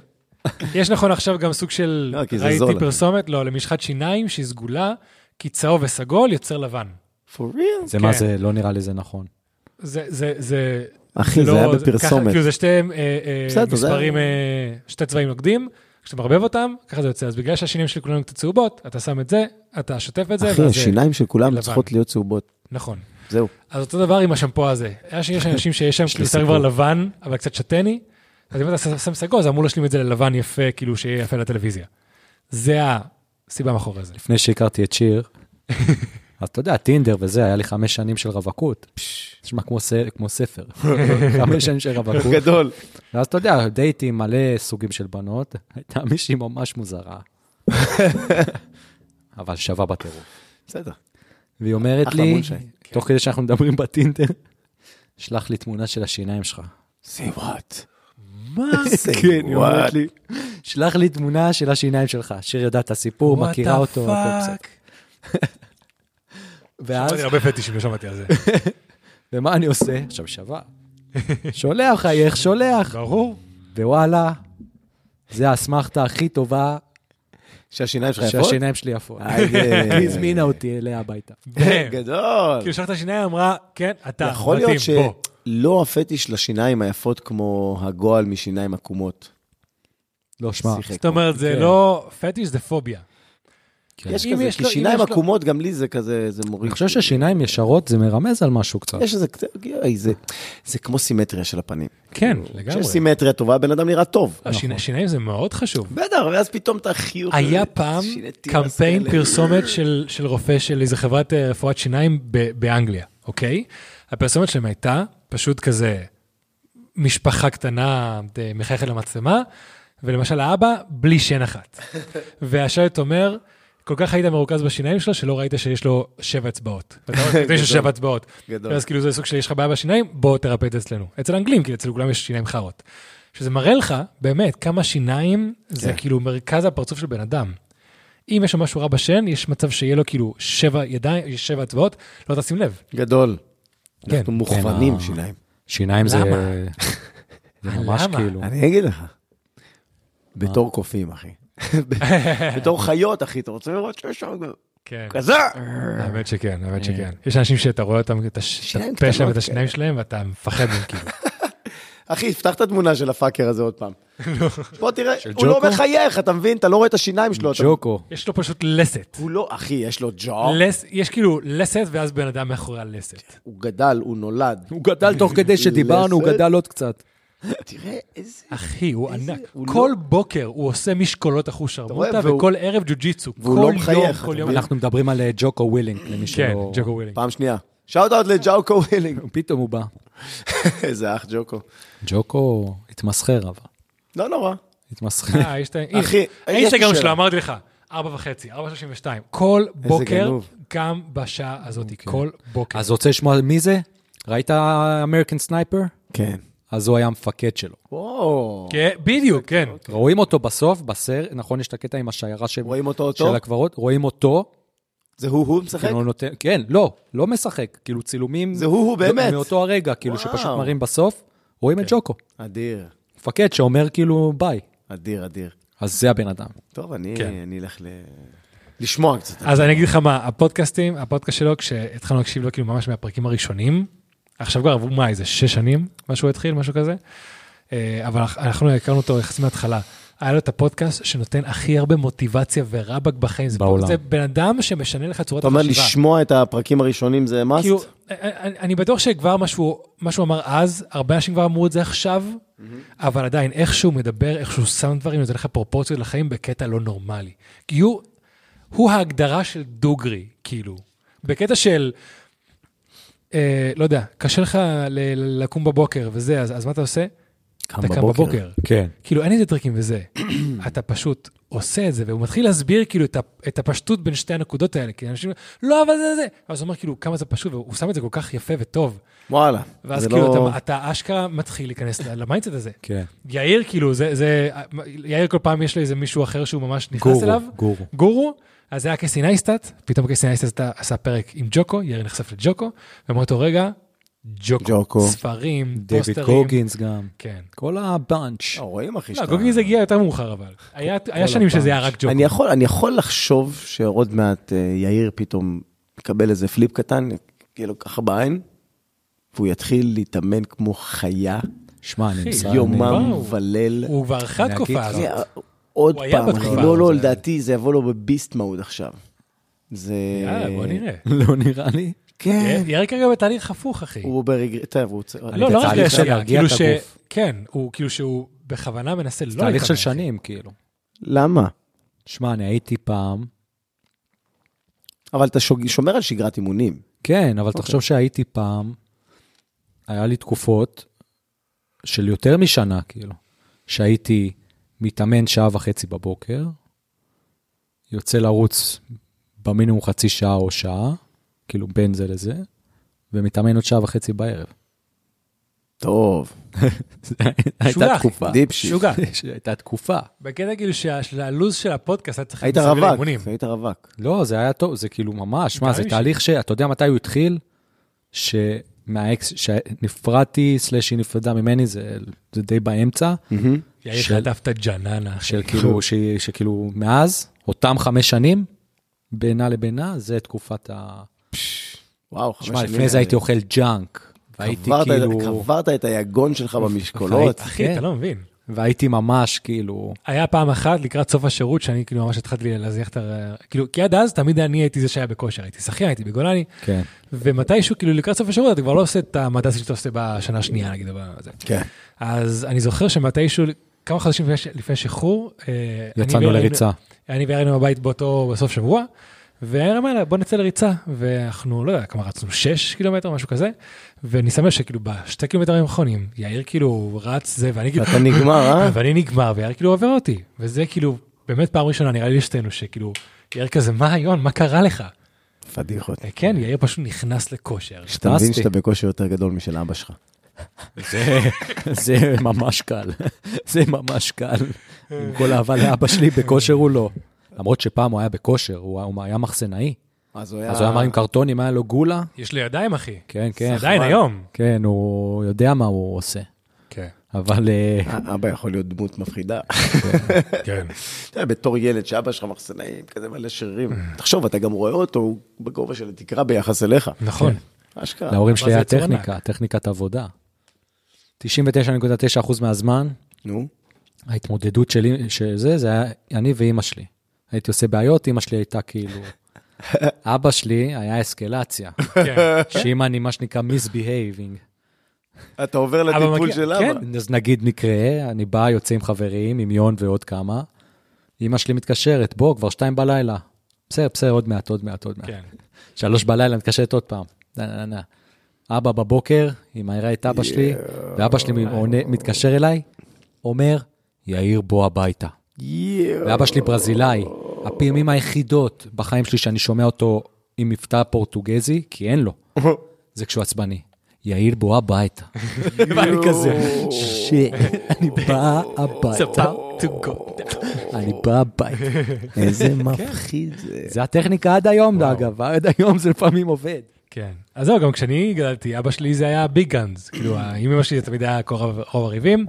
יש נכון עכשיו גם סוג של, לא, כי זה זול. ראיתי פרסומת, לא, למשחת שיניים שהיא סגולה, כי צהוב וסגול יוצר לבן. for real? זה מה כן. זה, לא נראה לי זה נכון. זה, זה, זה... אחי, זה לא- היה ככה, בפרסומת. כאילו זה שתי אה, אה, בסדר, זה- מספרים, אה, שתי צבעים נוגדים, כשאתה מערבב אותם, ככה זה יוצא. אז בגלל שהשיניים של כולנו קצת צהובות, אתה שם את זה, אתה שוטף את זה, אחי, ואז זה- השיניים של כולם אה, לבן. צריכות להיות צהובות. נכון. זהו. אז אותו דבר עם השמפו הזה. היה שיש אנשים שיש שם לי כאילו שיער סיפור. כבר לבן, אבל קצת שתני, אז אם אתה שם- שם סגול, זה אמור להשלים את זה ללבן יפה, כאילו שיהיה יפה לטלוויזיה. זה הסיבה מאחורי זה. לפני שהכרתי את שיר, אז אתה יודע, טינדר וזה, היה לי חמש שנים של רווקות. נשמע כמו ס- כמו ספר. חמש שנים של רווקות. גדול. ואז אתה יודע, דייטים מלא סוגים של בנות, הייתה מישהי ממש מוזרה. אבל שווה בטירוף. בסדר. והיא אומרת אחלה לי, כן. מונשי. תוך כדי שאנחנו מדברים בטינדר, שלח לי תמונה של השיניים שלך. see what. מה? Say כן, היא אומרת what? לי, שלח לי תמונה של השיניים שלך, שיר יודעת את הסיפור, What מכירה the אותו, הכל בסדר. fuck? ואז, שמעתי הרבה פטישים, לא שמעתי על זה. ומה אני עושה? עכשיו שווה. שולח, חייך, שולח. ברור. ווואלה, זה האסמכתה הכי טובה שהשיניים שלך יפות? שהשיניים שלי יפות. איי. היא הזמינה אותי אליה הביתה. כן, גדול. כן. כאילו שלחת שיניים, אמרה, כן, אתה, יכול מתאים, להיות בוא. שלא הפטיש לשיניים היפות כמו הגועל משיניים עקומות. לא, שמע, שיחק. זאת אומרת, זה כן. לא פטיש, זה פוביה. יש אם כזה, יש כי לו- אם שיניים יש לו- עקומות, גם לי זה כזה, זה מוריד. אני חושב ששיניים ישרות זה מרמז על משהו קצת. יש איזה, קצת- אי, זה- זה כמו סימטריה של הפנים. כן, כשיש לגמרי. סימטריה טובה, בן אדם נראה טוב. השיני- שיניים זה מאוד חשוב. בטח, ואז פתאום אתה חיוך. היה פעם שינתי קמפיין מסקלה. פרסומת של, של רופא של איזה חברת אה, רפואת שיניים ב, באנגליה, אוקיי? הפרסומת שלהם הייתה פשוט כזה משפחה קטנה אה, מחייכת למצלמה, ולמשל האבא בלי שן אחת. והשלט אומר, כל כך היית מרוכז בשיניים שלו, שלא ראית שיש לו שבע אצבעות. אתה יודע, יש לו שבע אצבעות. גדול. ואז כאילו זה סוג של יש לך בעיה בשיניים, בוא תרפא את זה אצלנו. אצל האנגלים, כי אצל כולם יש שיניים חרות. שזה מראה לך, באמת, כמה שיניים זה כן. כאילו מרכז הפרצוף של בן אדם. אם יש לו משהו רע בשן, יש מצב שיהיה לו כאילו שבע ידיים, שבע אצבעות, לא תשים לב. גדול. כן. אנחנו מוכוונים כן, ה- שיניים. שיניים זה... למה? זה ממש למה? כאילו... אני אגיד לך. בתור קופים, אחי. בתור חיות, אחי, אתה רוצה לראות שיש שם גם כן. כזה? האמת שכן, האמת שכן. יש אנשים שאתה רואה אותם, את הש- את שיניים הפה שלהם, אה. קטנות את השיניים שלהם, ואתה מפחד מהם כאילו. אחי, פתח את התמונה של הפאקר הזה עוד פעם. בוא תראה, הוא ג'וקו? לא מחייך, אתה מבין? אתה לא רואה את השיניים שלו. אתה- ג'וקו. יש לו פשוט לסת. הוא לא, אחי, יש לו ג'ו, לס- יש כאילו לסת, ואז בן אדם מאחורי הלסת. הוא גדל, הוא נולד. הוא גדל תוך כדי שדיברנו, הוא לסת. גדל עוד קצת. תראה איזה... אחי, הוא ענק. הוא לא- כל בוקר הוא עושה משקולות אחושרמוטה, רואה, והוא- וכל ערב ג'ו-ג'יצו. והוא לא כל מחייך, יום, אתה כל יום. מבין? אנחנו מדברים על אה, ג'וקו ווילינג, למי כן, שלא... ג'וקו ווילינג. פעם שנייה. שאוט אאוט לג'וקו ווילינג. פתאום הוא בא. איזה אח ג'וקו. ג'וקו התמסחר אבל. לא נורא. התמסחר. אה, יש את ה- אחי, הנה, יש לי האינסטגרם שאלה. שלו, אמרתי לך, ארבע וחצי, ארבע שלושים ושתיים. כל בוקר, גנוב. אוקיי. גם בשעה הזאת, כל בוקר. אז רוצה לשמוע מי זה? ראית אמריקן סנייפר? כן. אז הוא היה המפקד שלו. וואו. כן, בדיוק, כן. אוקיי. רואים אותו בסוף, בסרט, נכון, יש את הקטע עם השיירה של רואים אותו של אותו? הקברות, רואים אותו, זה הוא הוא משחק? כאילו נותן, כן, לא, לא משחק, כאילו צילומים. זה הוא, הוא באמת. מאותו הרגע, כאילו, וואו. כן. שפשוט מראים בסוף, רואים את ג'וקו. אדיר. מפקד שאומר כאילו, ביי. אדיר, אדיר. אז זה הבן אדם. טוב, אני כן. אני אלך ל... לשמוע קצת. אז אני אגיד לך מה, הפודקאסטים, הפודקאסט שלו, כשהתחלנו להקשיב לו כאילו ממש מהפרקים הראשונים, עכשיו כבר עברו מה, איזה שש שנים, מה שהוא התחיל, משהו כזה, אה, אבל אח- אנחנו הכרנו אותו יחסית מההתחלה. היה לו את הפודקאסט שנותן הכי הרבה מוטיבציה ורבאק בחיים. זה- בעולם. זה בן אדם שמשנה לך את צורת אתה אומר, החשיבה. לשמוע את הפרקים הראשונים זה כאילו, must? אני, אני בטוח שכבר מה שהוא, מה שהוא אמר אז, הרבה אנשים כבר אמרו את זה עכשיו, אבל עדיין, איך שהוא מדבר, איך שהוא שם דברים, נותן לך פרופורציות לחיים בקטע לא נורמלי. כי הוא, הוא ההגדרה של דוגרי, כאילו. בקטע של, אה, לא יודע, קשה לך ל- ל- לקום בבוקר וזה, אז, אז מה אתה עושה? אתה קם בבוקר. כן. כאילו, אין איזה טריקים וזה. אתה פשוט עושה את זה, והוא מתחיל להסביר כאילו את, ה- את הפשטות בין שתי הנקודות האלה, כי אנשים, לא, אבל זה זה. ואז הוא אומר כאילו, כמה זה פשוט, והוא שם את זה כל כך יפה וטוב. וואלה. ואז זה כאילו, לא- אתה, אתה אשכרה מתחיל להיכנס ל- למיינדסט הזה. כן. יאיר, כאילו, זה, זה, יאיר כל פעם יש לו איזה מישהו אחר שהוא ממש נכנס גורו, אליו. גורו. גורו, אז זה היה קסי נייסטאט, פתאום קסי נייסטאט עשה פרק עם ג'וקו, יאיר נחשף לג'וקו, ומאותו רגע, ג'וקו. ג'וקו. ספרים, דויד פוסטרים. קוגינס גם. כן. כל הבנץ'. אה, רואים, אחי, לא, שאתה... גוגינס הגיע יותר מאוחר אבל. היה- לא היה שנים שזה היה רק ג'וקו. אני יכול, אני יכול לחשוב שעוד מעט אה, יאיר פתאום יקבל איזה פליפ קטן, יהיה לו ככה בעין, והוא יתחיל להתאמן כמו חיה, שמע, אני מסיים. יומם וואו. וליל. הוא כבר אחרי אני אגיד התקופה לך. אה, זה- הזאת. עוד הוא היה פעם, אחי, בתקופה לא, לא, הזאת. לדעתי זה יבוא לו בביסט מוד עכשיו. זה... יאללה, בוא נראה. לא נראה לי. כן. יאיר כרגע בתהליך הפוך, אחי. הוא ברגרט, טוב, הוא צריך... לא, לא רק בתהליך של לשנייה, להרגיע כאילו את ש... הגוף. כן, הוא כאילו שהוא בכוונה מנסה לא להתאמן. תהליך של אחי. שנים, כאילו. למה? שמע, אני הייתי פעם, אבל אתה שוג- שומר על שגרת אימונים. כן, אוקיי. אבל תחשוב שהייתי פעם, היה לי תקופות של יותר משנה, כאילו, שהייתי מתאמן שעה וחצי בבוקר, יוצא לרוץ במינימום חצי שעה או שעה, כאילו בין זה לזה, ומתאמן עוד שעה וחצי בערב. טוב, הייתה שוגע, אחי. תקופה. דיפ שיט. שוגע. הייתה תקופה. בקטע כאילו שה- של הלו"ז של הפודקאסט היה צריך היית להיות מסביב רווק, לאימונים. היית רווק. לא, זה היה טוב, זה כאילו ממש, מה, זה נראה לי תהליך שאתה יודע מתי הוא התחיל? שמהאקס, שנפרדתי, סלאש היא נפרדה ממני, זה זה די באמצע, יאיר של- חטף את הג'ננה, אחי. של כאילו, ש- שכאילו מאז, אותם חמש שנים, בינה לבינה, זה תקופת ה... וואו, חמש שנים. אה, שמע, לפני זה הייתי אוכל ג'אנק, והייתי קברת את- כאילו, קברת את היגון שלך במשקולות. אחי, אתה כן. לא מבין. והייתי ממש כאילו, היה פעם אחת לקראת סוף השירות, שאני כאילו ממש התחלתי להזיח את ה... כאילו, כי עד אז תמיד אני הייתי זה שהיה בכושר, הייתי שחיין, הייתי בגולני, כן. ומתישהו, כאילו לקראת סוף השירות, אתה כבר לא עושה את המדס שאתה עושה בשנה השנייה, נגיד, או בזה. כן. אז אני זוכר שמתישהו, כמה חודשים לפני ש- לפני שחרור, אה, אני יצאנו ואירן- לריצה. אני ואירן היינו בבית באותו, בסוף שבוע, ואירן אמר לה, בוא נצא לריצה, ואנחנו, לא יודע, כמה רצנו, 6 קילומטר, משהו כזה, ואני שם לב שכאילו בשתי קילומטרים האחרונים, יאיר כאילו רץ זה, ואני כאילו, אתה נגמר, אה? ואני נגמר, ויאיר כאילו עובר אותי, וזה כאילו, באמת פעם ראשונה, נראה לי לשתינו, שכאילו, יאיר כזה, מה, יון, מה קרה לך? פדיחות. אה, כן, יאיר פשוט נכנס לכושר. שאתה מבין נכנסתי. שאתה בקושי יותר גדול משל אבא שלך. זה ממש קל, זה ממש קל. עם כל אהבה לאבא שלי, בכושר הוא לא. למרות שפעם הוא היה בכושר, הוא היה- הוא היה מחסנאי. אז הוא היה... אז הוא אה. היה מרים קרטונים, היה לו גולה. יש לו ידיים, אחי. כן, כן. זה עדיין היום. כן, הוא יודע מה הוא עושה. כן. אבל אה, אבא יכול להיות דמות מפחידה. כן. אתה יודע, בתור ילד שאבא שלך מחסנאים, כזה מלא שרירים. אה. תחשוב, אתה גם רואה אותו, הוא בגובה של התקרה ביחס אליך. כן, נכון. אשכרה. להורים זה שלי היה יצור טכניקה, טכניקת עבודה. 99.9% מהזמן, נו, ההתמודדות שלי, שזה, זה היה אני ואימא שלי. הייתי עושה בעיות, אימא שלי הייתה כאילו... אבא שלי היה אסקלציה, כן. שאם אני, מה שנקרא, מיסבייבינג. אתה עובר אבא לטיפול מגיע- של אבא. כן, אז נגיד מקרה, אני בא, יוצא עם חברים, עם יון ועוד כמה. אמא שלי מתקשרת, בוא, כבר שתיים בלילה. בסדר, בסדר, עוד מעט, עוד מעט, עוד מעט. כן. שלוש בלילה, מתקשרת עוד פעם. נה, נה, נה. אבא בבוקר, היא מעירה את אבא שלי, ואבא שלי עונה- מתקשר אליי, אומר, יאיר, בוא הביתה. יואו. ואבא שלי ברזילאי. הפעמים היחידות בחיים שלי שאני שומע אותו עם מבטא פורטוגזי, כי אין לו, זה כשהוא עצבני. יאיר בוא הביתה. ואני כזה, שיט, אני בא הביתה, about to go down. אני בא הביתה. כן. איזה מפחיד זה. זה הטכניקה עד היום, אגב, עד היום זה לפעמים עובד. כן. אז זהו, גם כשאני גדלתי, אבא שלי זה היה ביג גאנז. כאילו, עם אמא שלי זה תמיד היה כל רוב רוב הריבים.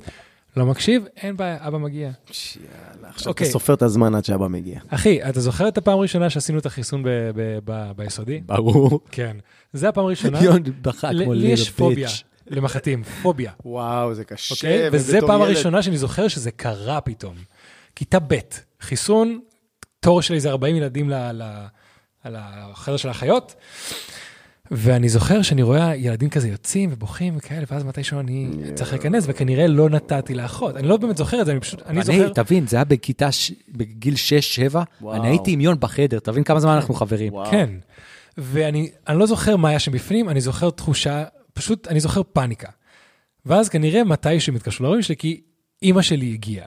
לא מקשיב, אין בעיה, אבא מגיע. יאללה, עכשיו אתה אוקיי. סופר את הזמן עד שאבא מגיע. אחי, אתה זוכר את הפעם הראשונה שעשינו את החיסון ב- ב- ב- ביסודי? ברור. כן. זה הפעם הראשונה. יון בכה ל- כמו לי ליל יש פוביה ביץ'. למחטים, פוביה. וואו, זה קשה. אוקיי? וזה פעם הראשונה שאני זוכר שזה קרה פתאום. כיתה ב', חיסון, תור שלי זה 40 ילדים ל- ל- על החדר של האחיות, ואני זוכר שאני רואה ילדים כזה יוצאים ובוכים וכאלה, ואז מתישהו אני צריך להיכנס, וכנראה לא נתתי לאחות. אני לא באמת זוכר את זה, אני פשוט, אני אני, זוכר... תבין, זה היה בכיתה, ש- בגיל 6-7, וואו. אני הייתי עם יון בחדר, תבין כמה זמן אנחנו חברים. וואו. כן. ואני אני לא זוכר מה היה שם בפנים, אני זוכר תחושה, פשוט, אני זוכר פאניקה. ואז כנראה מתישהו הם התקשרו להורים שלי, כי אימא שלי הגיעה.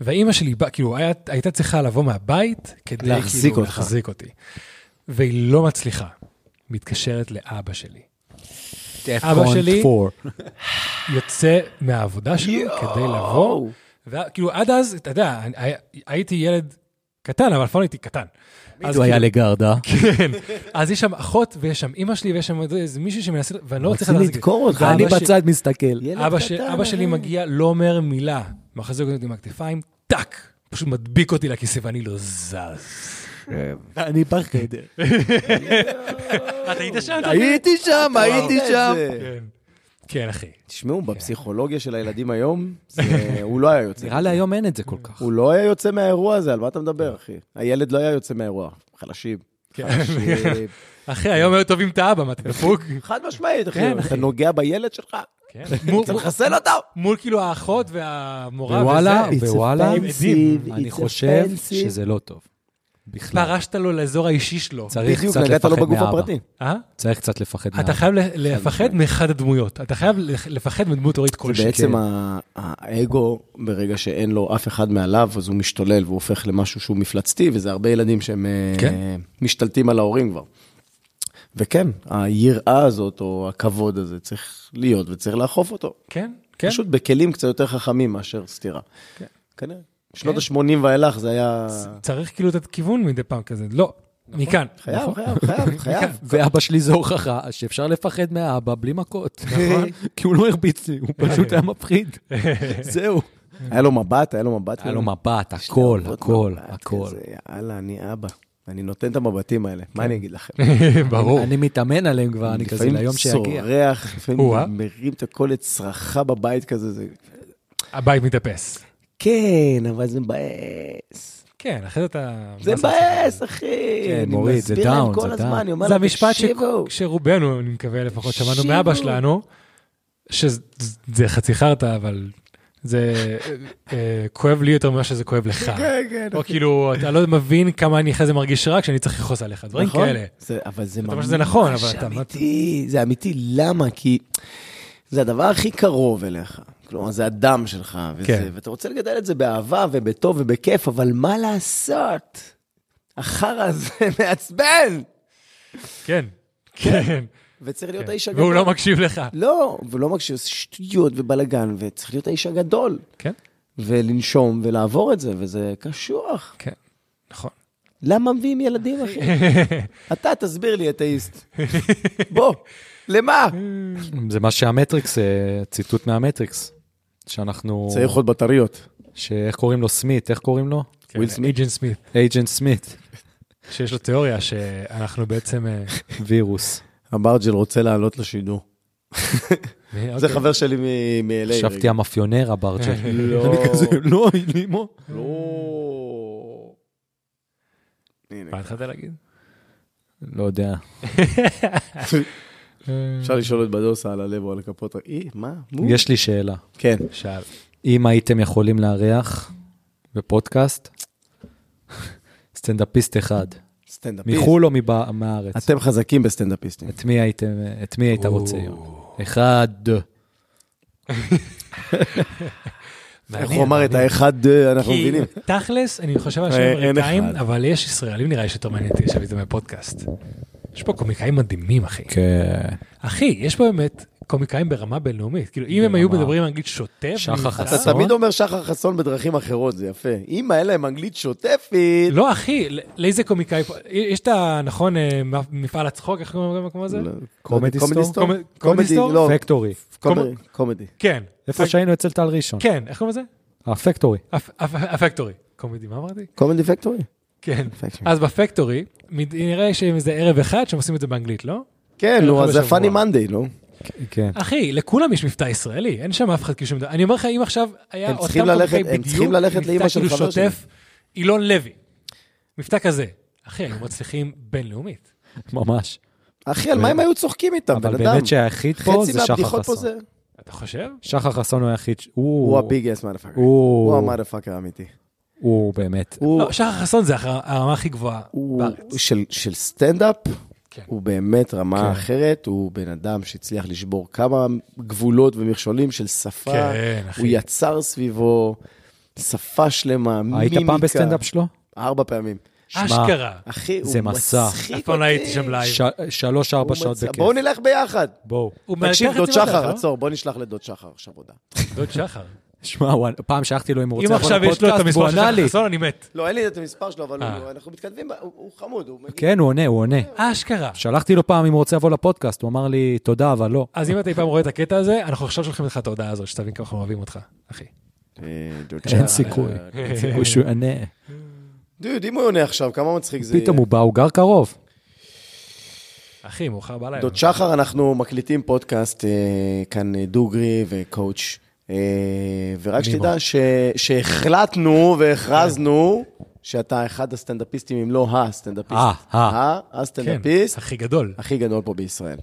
והאימא שלי, באה- כאילו, היה, הייתה צריכה לבוא מהבית כדי להחזיק כאילו, אותך. להחזיק אותי. והיא לא מצליחה. מתקשרת לאבא שלי. אבא שלי- יוצא מהעבודה שלו כדי לבוא, וכאילו, עד אז, אתה יודע, אני- הי- הייתי ילד קטן, אבל אף פעם לא הייתי קטן. אז הוא כאילו- היה לגרדה. כן. אז יש שם אחות, ויש שם אימא שלי, ויש שם עוד איזה מישהו שמנסה, ואני לא מצליח רוצים להחזיק. לדקור אותך. אני אבא שלי- בצד מסתכל. ילד אבא ש- קטן, אבא שלי אה. מגיע, לא אומר מילה, מחזיק אותי עם הכתפיים, טאק, פשוט מדביק אותי לכיסא ואני לא זז. אני בחדר. אתה היית שם? הייתי שם, הייתי שם. כן. כן, אחי. תשמעו, בפסיכולוגיה של הילדים היום, זה- הוא לא היה יוצא. נראה לי היום אין את זה כל כך. הוא לא היה יוצא מהאירוע הזה, על מה אתה מדבר, אחי? הילד לא היה יוצא מהאירוע. חלשים. חלשים. אחי, היום היו טובים את האבא, מה, אתה דפוק? חד משמעית, אחי. כן, אתה נוגע בילד שלך, כן. אתה מחסל אותו. מול כאילו האחות והמורה ווואלה, וזה. ווואלה, הם עדים. offensive, אני it's חושב offensive. שזה לא טוב. בכלל. פרשת לו לאזור האישי שלו. צריך בדיוק, קצת נגעת לו לפחד בגוף מאבא. הפרטי. אה? צריך קצת לפחד מאבא. אה, אתה חייב ל- לפחד מאחד הדמויות. אתה חייב לפחד מדמות הורית זה כלשהי. כן. בעצם ה- האגו, ברגע שאין לו אף אחד מעליו, אז הוא משתולל והוא הופך למשהו שהוא מפלצתי, וזה הרבה ילדים שהם אה, כן. משתלטים על ההורים כבר. וכן, היראה הזאת, או הכבוד הזה, צריך להיות וצריך לאכוף אותו. כן, כן. פשוט בכלים קצת יותר חכמים מאשר סטירה. כן. כנראה. בשנות ה-80 ואילך זה היה... צריך כאילו את הכיוון מדי פעם כזה, לא, מכאן. נכון, נכון. חייב, חייב, חייב, חייב. ואבא שלי זה הוכחה שאפשר לפחד מהאבא בלי מכות. נכון. כי הוא לא הרביץ לי, הוא פשוט היה מפחיד. זהו. היה לו מבט, היה לו מבט. היה לו מבט, הכל, הכל, מבט הכל. כזה, יאללה, אני אבא. אני נותן את המבטים האלה, מה אני אגיד לכם? ברור. אני מתאמן עליהם כבר, אני כזה ליום שיגיע. לפעמים צורח, או-אה. לפעמים מרים את הכל לצרחה בבית כזה, זה... הבית מתאפס. כן, אבל זה מבאס. כן, אחרי זה אתה... זה מה מבאס, אחי. כן, אני מוריד, זה מסביר להם דאון, כל זה הזמן, דאון. אני אומר זה להם, המשפט ש- לא, "תקשיבו". שרובנו, אני מקווה לפחות, שמענו תקשיבו. מאבא שלנו, שזה חצי חרטא, אבל זה אה, אה, כואב לי יותר ממה שזה כואב לך. כן, כן. או כאילו, אתה לא מבין כמה אני אחרי זה מרגיש רע כשאני צריך לכעוס עליך, דברים נכון? כאלה. זה, אבל זה אומר ממש שזה נכון, אבל אתה- אמיתי, זה אמיתי, למה? כי זה הדבר הכי קרוב אליך. כלומר, זה הדם שלך, וזה, כן. ואתה רוצה לגדל את זה באהבה ובטוב ובכיף, אבל מה לעשות? החרא הזה מעצבן, כן, כן. וצריך להיות כן. האיש הגדול. והוא לא מקשיב לך. לא, והוא לא מקשיב, זה שטויות ובלאגן, וצריך להיות האיש הגדול, כן, ולנשום ולעבור את זה, וזה קשוח. כן, נכון. למה מביאים ילדים, אחי? אתה תסביר לי, אתאיסט. בוא, למה? זה מה שהמטריקס, אה, ציטוט מהמטריקס. שאנחנו... צריך עוד בטריות. שאיך קוראים לו? סמית, איך קוראים לו? וויל כן, סמית. אייג'נט סמית, אייג'נט סמית, שיש לו תיאוריה שאנחנו בעצם... אה, וירוס. אמברג'ל רוצה לעלות לשידור. זה אוקיי. חבר שלי מ- מ-LA. חשבתי המאפיונר הברג'ה. לא. אני כזה, לא, לימו. לא. הנה, מה התחלת להגיד? לא יודע. אה. אפשר לשאול את בדוסה על הלב או על הכפות. אי, מה? מו? יש לי שאלה. כן. שאל. אם הייתם יכולים לארח בפודקאסט, סטנדאפיסט אחד, סטנדאפיסט. מחו"ל או מבא- מהארץ, אתם חזקים בסטנדאפיסטים. את מי הייתם- את מי היית רוצה? יום? אחד, איך הוא אמר את האחד, אה, אנחנו מבינים. כי תכלס, אני חושב על אה, שני אין אמריקאים, אחד. אבל יש ישראלים נראה לי שיותר מעניין אותי לשבת איתם בפודקאסט. יש פה קומיקאים מדהימים, אחי. כן. אחי, יש פה באמת קומיקאים ברמה בינלאומית. כאילו, אם הם היו ברמה- מדברים אנגלית שוטף, שחר נמצא- חסון. אתה נכון? תמיד אומר שחר חסון בדרכים אחרות, זה יפה. אם היה להם אנגלית שוטפת... לא, אחי, לא- לאיזה קומיקאי פה? יש את ה... נכון, אה, מפעל הצחוק, איך קוראים למקום הזה? לא. קומדי סטור? קומ- קומדי קומדי, סטור? לא, פקטורי. קומדי, קומדי. כן. איפה שהיינו אצל טל ראשון. אה, כן, איך קוראים לזה? הפקטורי. הפ- הפ- הפקטורי. קומדי, מה אמרתי? קומדי פקטורי? כן. פקטורי. אז בפקטורי, מד- נראה שהם איזה ערב אחד שהם עושים את זה באנגלית, לא? כן, אה, נו, אז זה לא? בשבוע. פאני מנדי, נו. כן. אחי, לכולם יש מבטא ישראלי, אין שם אף אחד כאילו שמדבר. אני אומר לך, אם עכשיו היה הם אותם צריכים קומיקאי ללכת- הם בדיוק, צריכים ללכת מבטא לאמא של כאילו חבר שלי. שוטף, אילון לוי. מבטא כזה. אחי, היו מצליחים בינלאומית. ממש. אחי, על מה הם היו צוחקים איתם, בן אבל אדם? באמת שהיחיד פה חצי זה שחר מהבדיחות פה חסון. זה... אתה חושב? שחר חסון הוא היחיד, ש- הוא... הוא הביגס מאדפאקר. הוא הוא... המאדפאקר האמיתי. הוא באמת. הוא לא, שחר חסון זה הר- הרמה הכי גבוהה הוא- בארץ. של- של סטנדאפ, כן. הוא באמת רמה אחרת, הוא בן אדם שהצליח לשבור כמה גבולות ומכשולים של שפה. כן, אחי. הוא יצר סביבו שפה שלמה, מימיקה. היית פעם בסטנדאפ שלו? ארבע פעמים. שמע, אשכרה. אחי, הוא מצחיק זה מסע. אף פעם לא הייתי שם לייב. ש- שלוש, ארבע הוא שעות מצ- בואו בכיף. נלך ביחד. בואו. הוא מהלך תקשיב, את דוד זה בדרך, שחר, לא? עצור, בוא נשלח לדוד שחר עכשיו הודעה. דוד שחר. שמע, הוא- פעם שלחתי לו אם הוא אם רוצה לבוא עכשיו יש לו את לפודקאסט, והוא המספר של ענה לי. שחר חסון, אני מת. לא, אין לי את המספר שלו, אבל אה. הוא- אנחנו מתכתבים, הוא- הוא חמוד, הוא מגיע. כן, הוא עונה, הוא עונה. אשכרה. שלחתי לו פעם אם הוא רוצה לבוא לפודקאסט, הוא אמר לי, תודה, אבל לא. אז אם אתה אי פעם רואה את הקטע הזה, אנחנו עכשיו שולחים לך את ההודעה הזאת, שתבין כמה אנחנו אוהבים אותך, אחי. אה, דוד כן. שחר. אין סיכוי, אין אה, סיכוי שהוא יענה. דוד, אם הוא עונה עכשיו, כמה מצחיק זה פתאום הוא בא, הוא גר קרוב. אחי, מאוחר בלילה. כן. דוד שחר, אנחנו מקליטים פודקאסט, אה, כאן אה, דוגרי וקואוץ', אה, ורק שתדע ש- שהחלטנו והכרזנו שאתה אחד הסטנדאפיסטים, אם לא הסטנדאפיסט. אה, אה. ה- כן, הסטנדאפיסט הכי גדול. הכי גדול פה בישראל.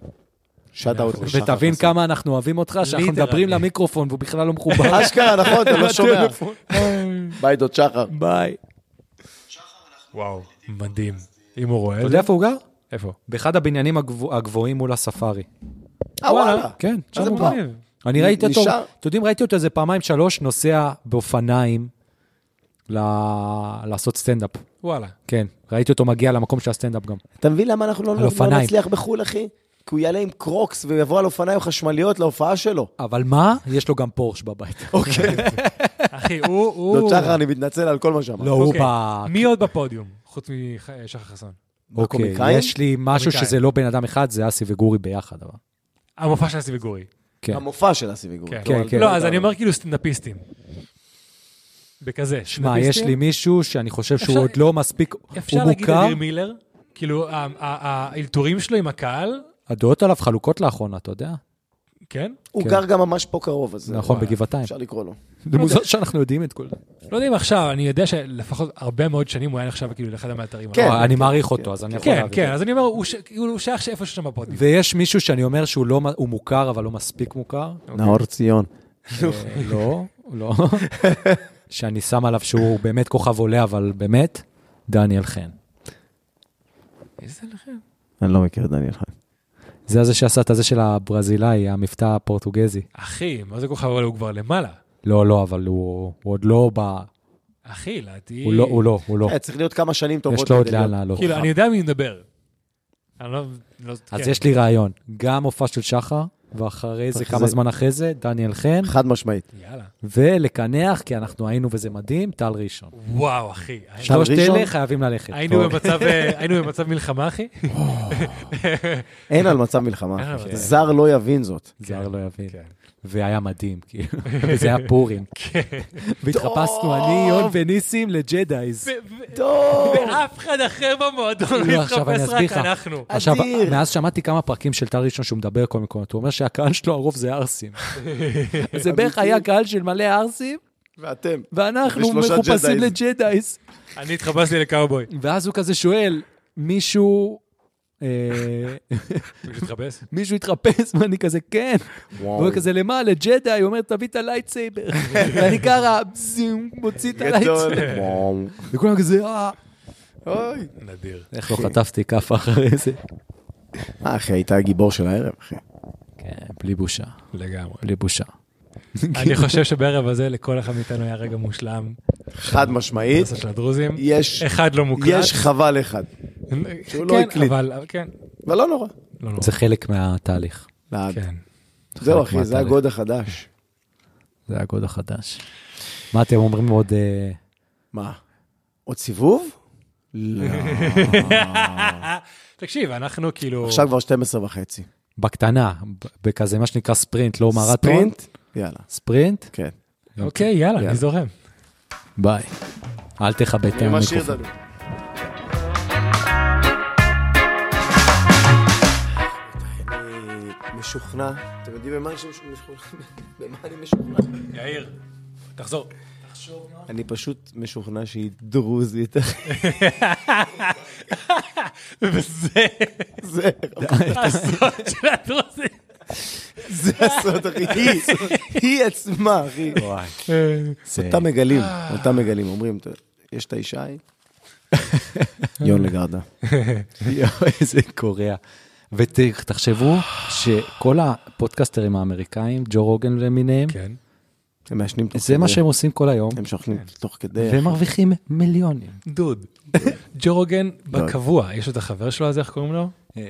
שאט אאוט לשחר. ותבין חסון. כמה אנחנו אוהבים אותך, שאנחנו ליטרלי. מדברים למיקרופון והוא בכלל לא מחובר. אשכרה, נכון, אתה לא שומע. ביי, דוד שחר. ביי. וואו, מדהים. אם הוא רואה אתה את זה. יודע איפה הוא גר? איפה? באחד הבניינים הגבוה- הגבוהים מול הספארי. אה, וואלה. כן, שם זה הוא גר. מגניב? אני ראיתי אותו, נשאר- אתם יודעים, ראיתי אותו איזה פעמיים שלוש, נוסע באופניים, ל- לעשות סטנדאפ. וואלה. כן, ראיתי אותו מגיע למקום של הסטנדאפ גם. אתה מבין למה אנחנו לא על לא אופניים. נצליח בחו"ל, אחי? כי הוא יעלה עם קרוקס ויבוא על אופניים חשמליות להופעה שלו. אבל מה? יש לו גם פורש בבית. אוקיי. אחי, הוא... הוא- דוד שחר, אני מתנצל על כל מה שאמרת. לא, הוא אוקיי. ב... מי עוד בפודיום? חוץ משחר חסון. אוקיי, הקומיקאים? יש לי משהו קומיקאים. שזה לא בן אדם אחד, זה אסי וגורי ביחד, אבל. המופע של אסי וגורי. כן. המופע של אסי וגורי. כן, כן, כן. לא, אז אני אומר כאילו סטנדאפיסטים. בכזה, שמע, יש לי מישהו שאני חושב שהוא אפשר- עוד לא מספיק, אפשר הוא להגיד מוכר, אדיר מילר, כאילו, ה- ה- ה- האלתורים שלו עם הקהל, הדעות עליו חלוקות לאחרונה, אתה יודע? כן? הוא כן. גר גם ממש פה קרוב, אז... נכון, וואי, בגבעתיים. אפשר לקרוא לו. אוקיי. זה מוזר שאנחנו יודעים את כל זה. לא יודע אם עכשיו, אני יודע שלפחות הרבה מאוד שנים הוא היה נחשב כאילו לאחד המאתרים. כן. לא, אני מעריך כן, אותו, אז אני יכול כן, להבין. כן, אז אני אומר, הוא ש- כאילו, הוא שייך שאיפשהו שם בפודיום. ויש מישהו שאני אומר שהוא לא, מ- הוא מוכר, אבל לא מספיק מוכר. נאור ציון. אה, לא, לא. שאני שם עליו שהוא באמת כוכב עולה, אבל באמת, דניאל חן. איזה לכם? אני לא מכיר את דניאל חן. זה הזה שעשה את הזה של הברזילאי, המבטא הפורטוגזי. אחי, מה זה כוכב עולה? הוא כבר למעלה. לא, לא, אבל הוא הוא עוד לא ב... אחי, לדעתי... הוא לא, הוא לא, הוא לא. אה, צריך להיות כמה שנים טובות. יש לו עוד כדי לאן להיות- לעלות. כאילו, אני יודע מי מדבר. אני לא... לא- אז כן. יש לי רעיון, גם מופע של שחר, ואחרי זה, אחרי כמה זה- זמן אחרי זה, דניאל חן, חד משמעית. יאללה. ולקנח, כי אנחנו היינו וזה מדהים, טל ראשון. וואו, אחי. שלושת ראשון? אלה חייבים ללכת. היינו במצב, אה, היינו במצב מלחמה, אחי. אין על מצב אין מלחמה. על מצב. זר לא יבין זאת. זר לא יבין. כן. והיה מדהים, כאילו, וזה היה פורים. והתחפשנו, אני, יון וניסים, לג'דאיז. טוב. ואף אחד אחר במועדון לא, לא עכשיו אני התחפש, אסביר רק לך. אנחנו. עכשיו, אדיר. מאז שמעתי כמה פרקים של טל ראשון שהוא מדבר כל מיני מקומות, הוא אומר שהקהל שלו הרוב זה ערסים. זה בערך היה קהל של מלא ערסים, ואתם. ואנחנו ושלושה מחופשים ג'דאיז. לג'דאיז. אני התחפשתי לקאובוי. ואז הוא כזה שואל, מישהו... אה, מישהו התחפש? מישהו התחפש, ואני כזה, כן. והוא כזה, למה? לג'די, הוא אומר, תביא את הלייטסייבר. ואני ככה, זום, מוציא את גדול. הלייטסייבר. וכולם כזה, אה... אוי. נדיר. איך לא חטפתי כאפה אחרי זה? אה, אחי, היית הגיבור של הערב, אחי. כן, בלי בושה, לגמרי. בלי בושה. אני חושב שבערב הזה לכל אחד מאיתנו היה רגע מושלם. אה, חד משמעית. הנושא של הדרוזים. יש- אחד לא מוקלט. יש חבל אחד. שהוא לא כן, הקליט. אבל, אבל כן. אבל לא נורא. לא נורא. זה חלק מהתהליך. לעד. כן. זהו, אחי, זה מהתהליך. הגוד החדש. זה הגוד החדש. מה אתם אומרים עוד? אה, מה? עוד סיבוב? לא. תקשיב, אנחנו כאילו... עכשיו כבר 12 וחצי. בקטנה, ב- בכזה, מה שנקרא ספרינט, לא מרתון. ספרינט? יאללה. ספרינט? כן. אוקיי, יאללה, יאללה. אני זורם. ביי. אל תכבד את כן, המיקרופון. אני משוכנע, אתם יודעים במה אני משוכנע? במה אני משוכנע? יאיר, תחזור. אני פשוט משוכנע שהיא דרוזית. וזה זה הסוד של הדרוזים. זה הסוד, אחי. היא- היא עצמה, אחי. כן. אותה מגלים, אותה מגלים. אומרים, "אתה- יש את האישה ההיא? יון לגרדה. יואו, איזה קורע. ותחשבו שכל הפודקסטרים האמריקאים, ג'ו רוגן למיניהם, כן. הם מעשנים תוך זה מה כדי. שהם כן. עושים כל היום, כן. הם שוכנים תוך כדי. והם מרוויחים מיליונים. דוד. ג'ו רוגן לא. בקבוע, יש לו את החבר שלו הזה, איך קוראים לו? אה,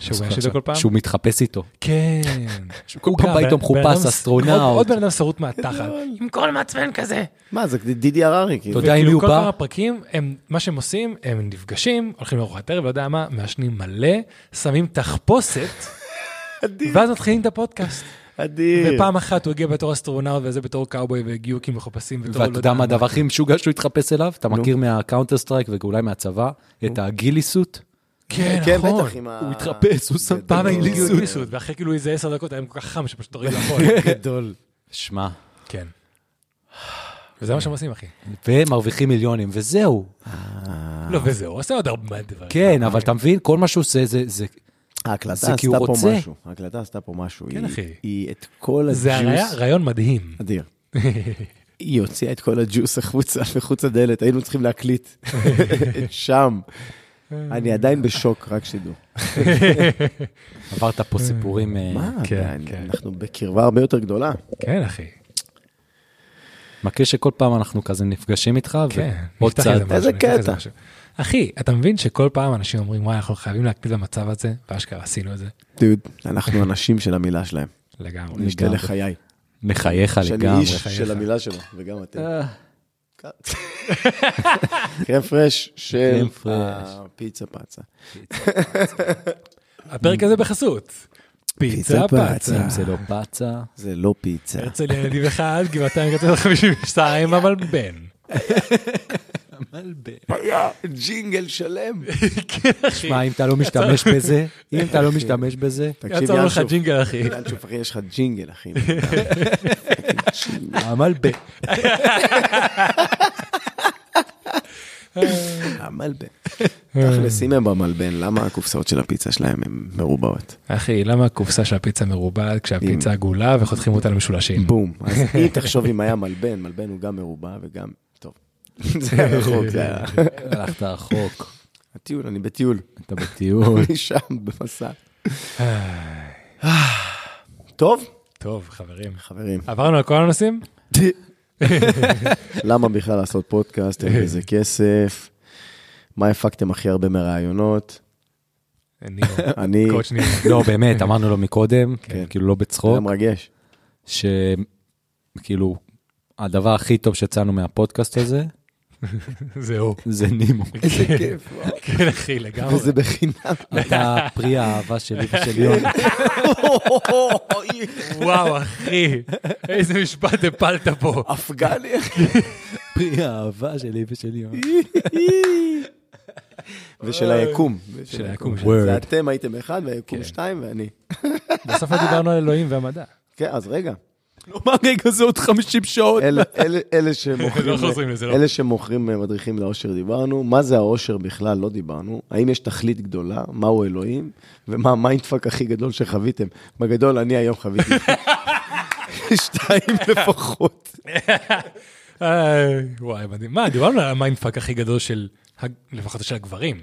שהוא מאשר לו כל פעם? שהוא מתחפש איתו. כן. כל הוא פעם גם בא איתו בן- בן מחופש, אדם- אסטרונאוט. עוד- עוד בן אדם שרוט מהתחת. עם קול מעצבן כזה. מה, זה דידי הררי, כאילו. אתה יודע עם מי וכאילו הוא כל בא? כמה פרקים, הם- מה שהם עושים, הם נפגשים, הולכים לארוחת ערב, לא יודע מה, מעשנים מלא, שמים תחפושת, אדיר. ואז מתחילים את הפודקאסט. אה. אדיר. ופעם אחת הוא הגיע בתור אסטרונאוט וזה בתור קאובוי והגיעו כאילו מחופשים בתור... ואתה יודע מה הדבר הכי משוגע שהוא התחפש אליו? אתה מכיר מהקאונטר סטרייק ואולי מהצבא, את הגילי סוט? כן, כן, נכון. בטח, עם ה... הוא התחפש, הוא שם את פעם הם הגילי הגיעו סוט. גיסות, ואחרי כאילו איזה עשר דקות היה כל כך חם שפשוט הוריד לאחור. גדול. שמע, כן. וזה מה שהם עושים, אחי. ומרוויחים מיליונים, וזהו. לא, וזה, הוא עושה עוד הרבה דברים. אה. כן, אבל אתה מבין, כל מה שהוא עושה זה- זה... ההקלטה זה כי עשתה הוא פה רוצה. משהו. ההקלטה עשתה פה משהו. כן, היא- אחי. היא את כל הג'וס. זה היה רעיון מדהים. אדיר. היא הוציאה את כל הג'וס החוצה, מחוץ לדלת, היינו צריכים להקליט. שם. אני עדיין בשוק, רק שתדעו. כן, עברת פה סיפורים... אה, מה? כן, אני- כן. אנחנו בקרבה הרבה יותר גדולה. כן, אחי. מכיר שכל פעם אנחנו כזה נפגשים איתך, כן, ועוד נפתח איזה צעד. משהו, איזה נפתח איזה קטע. משהו. אחי, אתה מבין שכל פעם אנשים אומרים, וואי, אנחנו חייבים להקפיד במצב הזה, ואשכרה עשינו את זה. דוד, אנחנו אנשים של המילה שלהם. לגמרי. נשתה לחיי. מחייך שאני לגמרי. איש חייך. של המילה שלו, וגם אתם. אה. קרם פרש של קרם פרש. הפיצה פצה. הפרק הזה בחסות. פיצה פיצה פצה. פצה. אם זה לא פצה, זה לא פיצה. אה, הרצל ילדים אחד, גבעתיים קצת 52, אבל בן. היה ג'ינגל שלם. תשמע, אם אתה לא משתמש בזה, אם אתה לא משתמש בזה, תקשיב, יצא לך ינשוף. ג'ינגל, אחי. ינשוף, אחי, יש לך ג'ינגל, אחי. עמל ב... המלבן. אה. תכלס, אם הם במלבן, למה הקופסאות של הפיצה שלהם הן מרובעות? אחי, למה הקופסה של הפיצה מרובעת כשהפיצה עגולה וחותכים אותה למשולשים? בום. אז אם תחשוב אם היה מלבן, מלבן הוא גם מרובע וגם... טוב. זה היה רחוק, זה היה... הלכת רחוק, הטיול, אני בטיול. אתה בטיול. אני שם במסע. טוב, טוב, חברים. חברים, עברנו על כל הנושאים? למה בכלל לעשות פודקאסט, אין לזה כסף? מה הפקתם הכי הרבה מרעיונות? ניאו. אני... קואוצ' ניאו. לא, באמת, אמרנו לו מקודם, כן. כאילו לא זה היה בצחוק, מרגש. שכאילו, הדבר הכי טוב שיצאנו מהפודקאסט הזה, זהו. זה נימו. איזה כיף. כן, אחי, לגמרי. וזה בחינם. אתה פרי האהבה שלי ושל יוני. וואו, אחי, איזה משפט הפלת פה. אפגני, אחי. פרי האהבה שלי ושל יוני. ושל היקום. של כן. היקום. זה אתם הייתם אחד והיקום שתיים ואני. בסוף לא דיברנו על אלוהים והמדע. כן, אז רגע. מה רגע, זה לא עוד 50 שעות. אלה- אלה- אלה שמוכרים... לא חוזרים לזה, לא. אלה שמוכרים אה, מדריכים לאושר דיברנו. מה זה האושר בכלל? לא דיברנו. האם יש תכלית גדולה? מהו אלוהים? ומה המיינדפאק הכי גדול שחוויתם? בגדול, אני היום חוויתי. שתיים לפחות. איי, אה, וואי, מדהים. מה, דיברנו על המיינדפאק הכי גדול של, ה- לפחות של הגברים.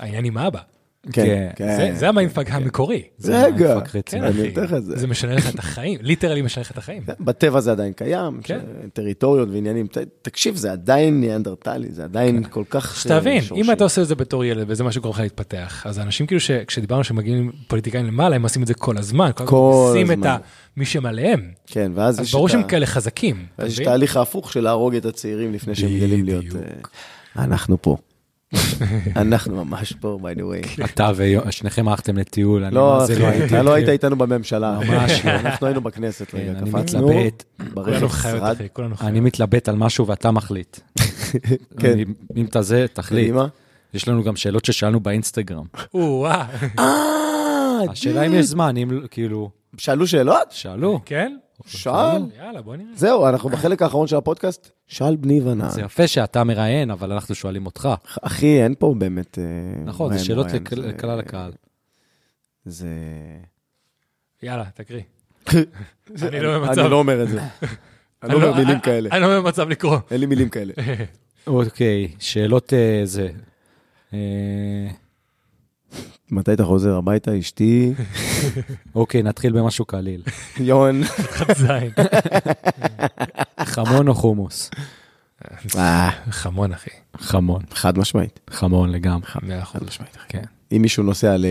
העניין עם אבא. כן, כן, כן. זה- זה המיינדפאק המקורי. זה רגע. מיינדפאק רציני. כן, אני אחי. נותן לך את זה. כן, זה משנה לך את החיים, ליטרלי משנה לך את החיים. בטבע זה עדיין קיים, כן. ש- טריטוריות ועניינים. ת- תקשיב, זה עדיין ניאנדרטלי, זה עדיין כל כך... שתבין, אה, אם שורשי. אתה עושה את זה בתור ילד וזה מה שגורם לך להתפתח, אז האנשים כאילו שכשדיברנו שמגיעים פוליטיקאים למעלה, הם עושים את זה כל הזמן. כל עושים את הזמן. ה- מי שמעליהם. כן, ואז אז יש ברור את ה- שהם כאלה חזקים. אתה ואז יש מבין? את ההליך ההפוך של להרוג את הצעירים לפני שהם גדלים להיות... אה, אנחנו פה. אנחנו ממש פה, by the way. אתה ושניכם הלכתם לטיול, כן, אני לא, מה זה לא אחי, הייתי. אתה לא היית איתנו בממשלה, ממש לא. אנחנו היינו בכנסת רגע, כן, אני קפצנו, מתלבט. ברכב כולנו חיות, שרד, אחי, כולנו חיות. אני מתלבט על משהו ואתה מחליט. כן. אני- אם אתה זה, תחליט. קדימה. יש לנו גם שאלות ששאלנו באינסטגרם. או-אה, השאלה אם יש זמן, אם כאילו, שאלו שאלות? שאלו. כן? שאל. יאללה, בוא נראה. זהו, אנחנו בחלק האחרון של הפודקאסט, שאל בני ונען. זה יפה שאתה מראיין, אבל אנחנו שואלים אותך. אחי, אין פה באמת... אה, נכון, רעיון, זה שאלות רעיון, לכ- זה- לכלל הקהל. זה... יאללה, תקריא. אני לא במצב. אני לא אומר את זה. אני לא אומר מילים כאלה. אני לא במצב לקרוא. אין לי מילים כאלה. אוקיי, שאלות אה, זה. אה, מתי אתה חוזר הביתה, אשתי? אוקיי, נתחיל במשהו קליל. יון. זין. חמון או חומוס? אה, חמון, אחי. חמון. חד משמעית. חמון לגמרי. מאה אחוז. כן. אם מישהו נוסע ל...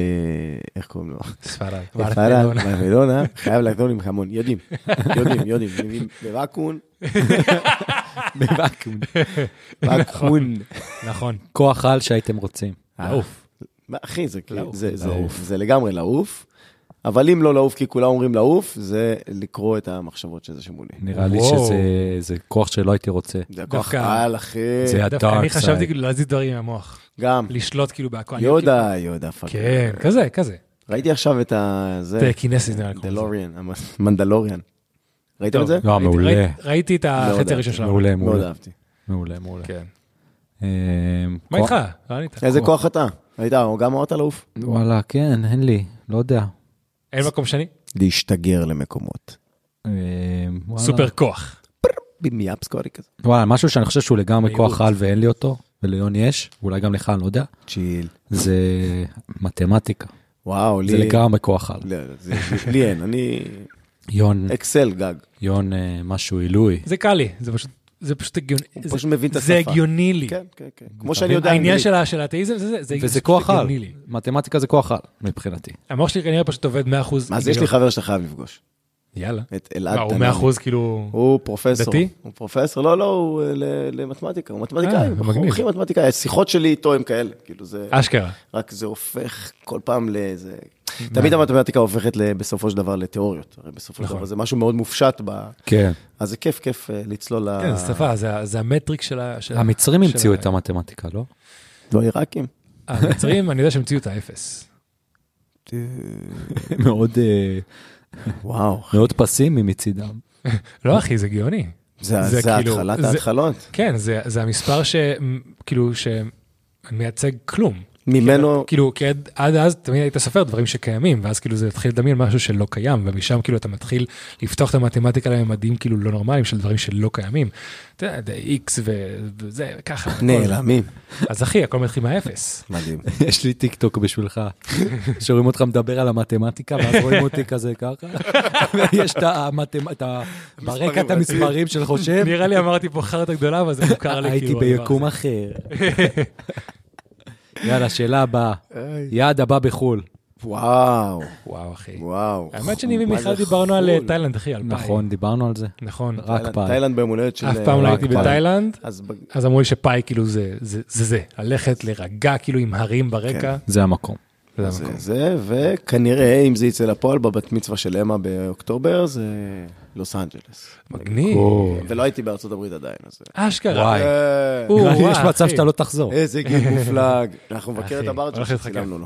איך קוראים לו? ספרד. לפארה, לארלונה, חייב לחזור עם חמון. יודעים, יודעים, יודעים. מביאים בוואקון, בוואקום. וואקון. נכון. כוח על שהייתם רוצים. אה. לעוף. מה, אחי, זה כאילו- לעוף. זה- זה- לעוף. זה לגמרי לעוף. אבל אם לא לעוף, כי כולם אומרים לעוף, זה לקרוא את המחשבות שזה שמולי. נראה לי וואו. שזה זה כוח שלא הייתי רוצה. זה הכוח דווקא- על, אחי. זה דווקא אני הדארק חשבתי סייד. כאילו להזיז דברים עם המוח. גם. לשלוט כאילו בהכל. אני יודה, יודה פאק. כאילו- כן, כזה, כזה. ראיתי עכשיו את ה... זה, זה קינסס נראה לי. קוראים לזה. דלוריאן, המנדלוריאן. ראיתם את זה? לא, ראיתי- מעולה. ראיתי- ראיתי את החצי יודע. הראשון שלנו. מעולה, מאוד מעולה. אהבתי. מעולה, מעולה. כן. אמ, מה כוח- איתך? לא ענית. איזה כוח אתה? היית גם אמרת לעוף? וואלה, כן, אין לי, לא יודע. אין מקום שני? להשתגר למקומות. אמ, וואלה. סופר כוח. במיאפסקורי כזה. וואלה, משהו שאני חושב שהוא לגמרי מהירות. כוח על ואין לי אותו, וליון יש, אולי גם לך, אני לא יודע, צ'יל. זה מתמטיקה. וואו, לי... זה לגמרי כוח על. לא, לא, זה- לי אין, אני... יון, אקסל גג. יון אה, משהו עילוי. זה קל לי, זה פשוט, זה פשוט הגיוני. הוא זה- פשוט מבין את זה השפה. הגיוני לי. כן, כן, כן. כמו שאני יודע העניין אנגלית. של ה- של האתאיזם זה זה, זה וזה פשוט כוח על. הגיוני לי. מתמטיקה זה כוח על, מבחינתי. המוח שלי כנראה פשוט עובד 100%. אז יש לי חבר שאתה חייב לפגוש, יאללה. את אלעד מה, הוא תנאי. 100% כאילו... הוא פרופסור. דתי? הוא פרופסור, לא, לא, הוא אה, ל- למתמטיקה, הוא מתמטיקאי, אה, הוא מגניב. אה. מומחה מתמטיקאי, השיחות שלי איתו הם כאלה, כאילו זה, אשכרה. רק זה הופך כל פעם לאיזה... אה. תמיד המתמטיקה הופכת ל- בסופו של דבר לתיאוריות, הרי בסופו נכון. של דבר זה משהו מאוד מופשט, ב- כן. אז זה כיף, כיף אה, לצלול ל... כן, זה שפה, זה ה- זה המטריק של ה... של ה- המצרים של המציאו ה- את המתמטיקה, לא? והעיראקים. המצרים, אני יודע שהם המציאו את האפס. אה, מאוד אה, וואו, מאוד פסימי מצידם. לא, אחי, זה גאוני. זה זה זה כאילו- התחלת זה- ההתחלות. כן, זה זה המספר ש... כאילו, שמייצג כלום. ממנו, כאילו, כי עד, עד אז תמיד היית סופר דברים שקיימים, ואז כאילו זה התחיל לדמיין משהו שלא קיים, ומשם כאילו אתה מתחיל לפתוח את המתמטיקה לממדים כאילו לא נורמליים של דברים שלא קיימים. אתה יודע, זה איקס וזה, ככה. הכל. נעלמים. אז אחי, הכל מתחיל מהאפס. מדהים. יש לי טיק טוק בשבילך, שרואים אותך מדבר על המתמטיקה, ואז רואים אותי כזה ככה, ויש את המתמ... את ה- ברקע את המספרים של חושב, נראה לי אמרתי פה חרטה גדולה, אבל זה מוכר לי הייתי כאילו. הדבר ביקום אחר. יאללה, שאלה הבאה, איי. יעד הבא בחו"ל. וואו, הזה. וואו, אחי. וואו. האמת שאני ומיכל מה זה דיברנו על חו"ל? אה, תאילנד, אחי, על פאי. נכון, דיברנו על זה? נכון. רק תאילנד- פעם. תאילנד ביום הולדת של... אף פעם לא אה, הייתי רק פעם. בתאילנד, אז ב- אז אמרו לי שפאי כאילו זה זה זה, זה. ללכת להירגע כאילו עם הרים ברקע. זה המקום. זה זה, המקום. זה, וכנראה אם זה יצא לפועל בבת מצווה של אמה באוקטובר, זה לוס אנג'לס. כן. מגניב. ולא הייתי בארצות הברית עדיין, אז... אשכרה. וואי. אה, או, אה. וואו, יש מצב אחי. שאתה לא תחזור. איזה גיל מופלג. אנחנו נבקר את אחי, הברצ'ה הולך להתחכם. שצילמנו לו.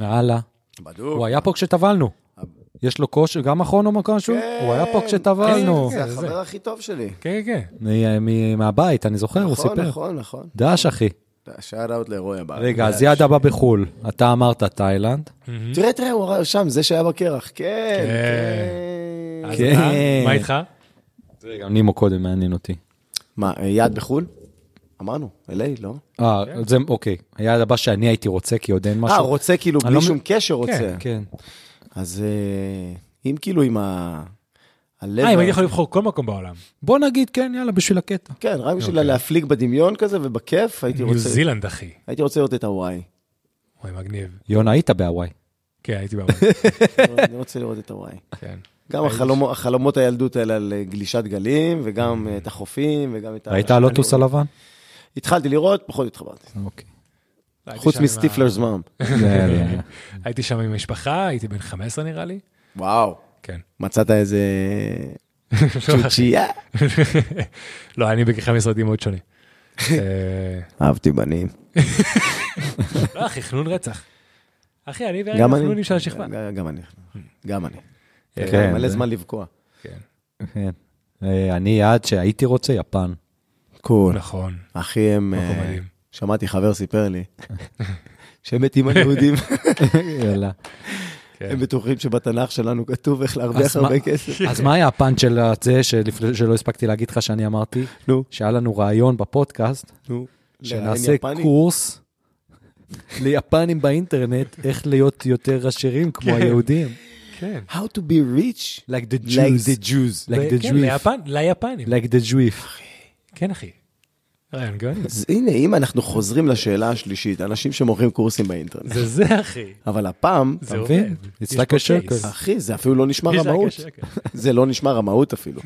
יאללה. הוא בדיוק. היה פה כשטבלנו. אה. יש לו כושר, גם אחרון או משהו? כן. הוא היה פה כשטבלנו. זה החבר הכי טוב שלי. כן, כן. מ- מ- מהבית, אני זוכר, הוא נכון, סיפר. נכון, נכון. דש, אחי. שאט אאוט לרועי הבא. רגע, אז יד הבא בחו"ל. אתה אמרת תאילנד. Mm-hmm. תראה, תראה, הוא ראה שם, זה שהיה בקרח. כן, כן. כן. אז אה, כן. מה- מה איתך? גם נימו קודם מעניין אותי. מה, יד בחו"ל? אמרנו, LA, לא? אה, זה, אוקיי. היעד הבא שאני הייתי רוצה, כי עוד אין משהו. אה, רוצה כאילו, אני לא בלי מ- שום קשר רוצה. כן, כן. אז אה, אם כאילו עם ה... הלב... אה, אם ה- הייתי יכול לבחור כל מקום בעולם. בוא נגיד, כן, יאללה, בשביל הקטע. כן, רק בשביל אוקיי. להפליג בדמיון כזה ובכיף, הייתי ניו רוצה... זילנד, אחי. הייתי רוצה לראות את הוואי. וואי, מגניב. יונה, היית בהוואי. כן, הייתי בעולם. אני רוצה לראות את הוואי. כן. גם החלומו- החלומות הילדות האלה על אה, גלישת גלים, וגם אה, את החופים, וגם את ה... ראית הלוטוס הלבן? התחלתי לראות, פחות התחברתי. אוקיי. כן, הייתי חוץ שם אה, עם ה- מסטיפלרס מאם. זה- זה- הייתי שם עם משפחה, הייתי בן 15 נראה לי. וואו. כן. מצאת איזה... לא, צ'וצ'יה. לא, אני בגיחה משרדי מאוד שונה. אה, אהבתי בנים. כן, לא, אחי, חנון רצח. אחי, אני גם והחנונים אני. של השכבה. גם אני. גם אני. כן, מלא זה- זמן לבקוע. כן. כן. אה, אני יעד שהייתי רוצה, יפן. קול. נכון. אחי הם... מקום אה, מדהים. שמעתי חבר סיפר לי, שמתים על יהודים, יאללה. כן. הם בטוחים שבתנ"ך שלנו כתוב איך להרוויח אז מה- הרבה כסף. אז מה היה הפאנץ' של זה שלפני- שלא הספקתי להגיד לך שאני אמרתי? נו, שהיה לנו רעיון בפודקאסט, נו. שנעשה יפני? קורס ליפנים באינטרנט, איך להיות יותר עשירים כמו היהודים. כן. How to be rich Like the like the Jews. Jews. Like the כן, Jewish. ליפן- ליפנים. Like the Jewish. כן, אחי. רעיון גאוני. אז הנה, אם אנחנו חוזרים לשאלה השלישית, אנשים שמוכרים קורסים באינטרנט, זה זה, אחי. אבל הפעם, זה עובד. מבין? אוקיי. It's יש like פה a circle. case. אחי, זה אפילו לא נשמע יש רק רמאות. השקל. זה לא נשמע רמאות אפילו.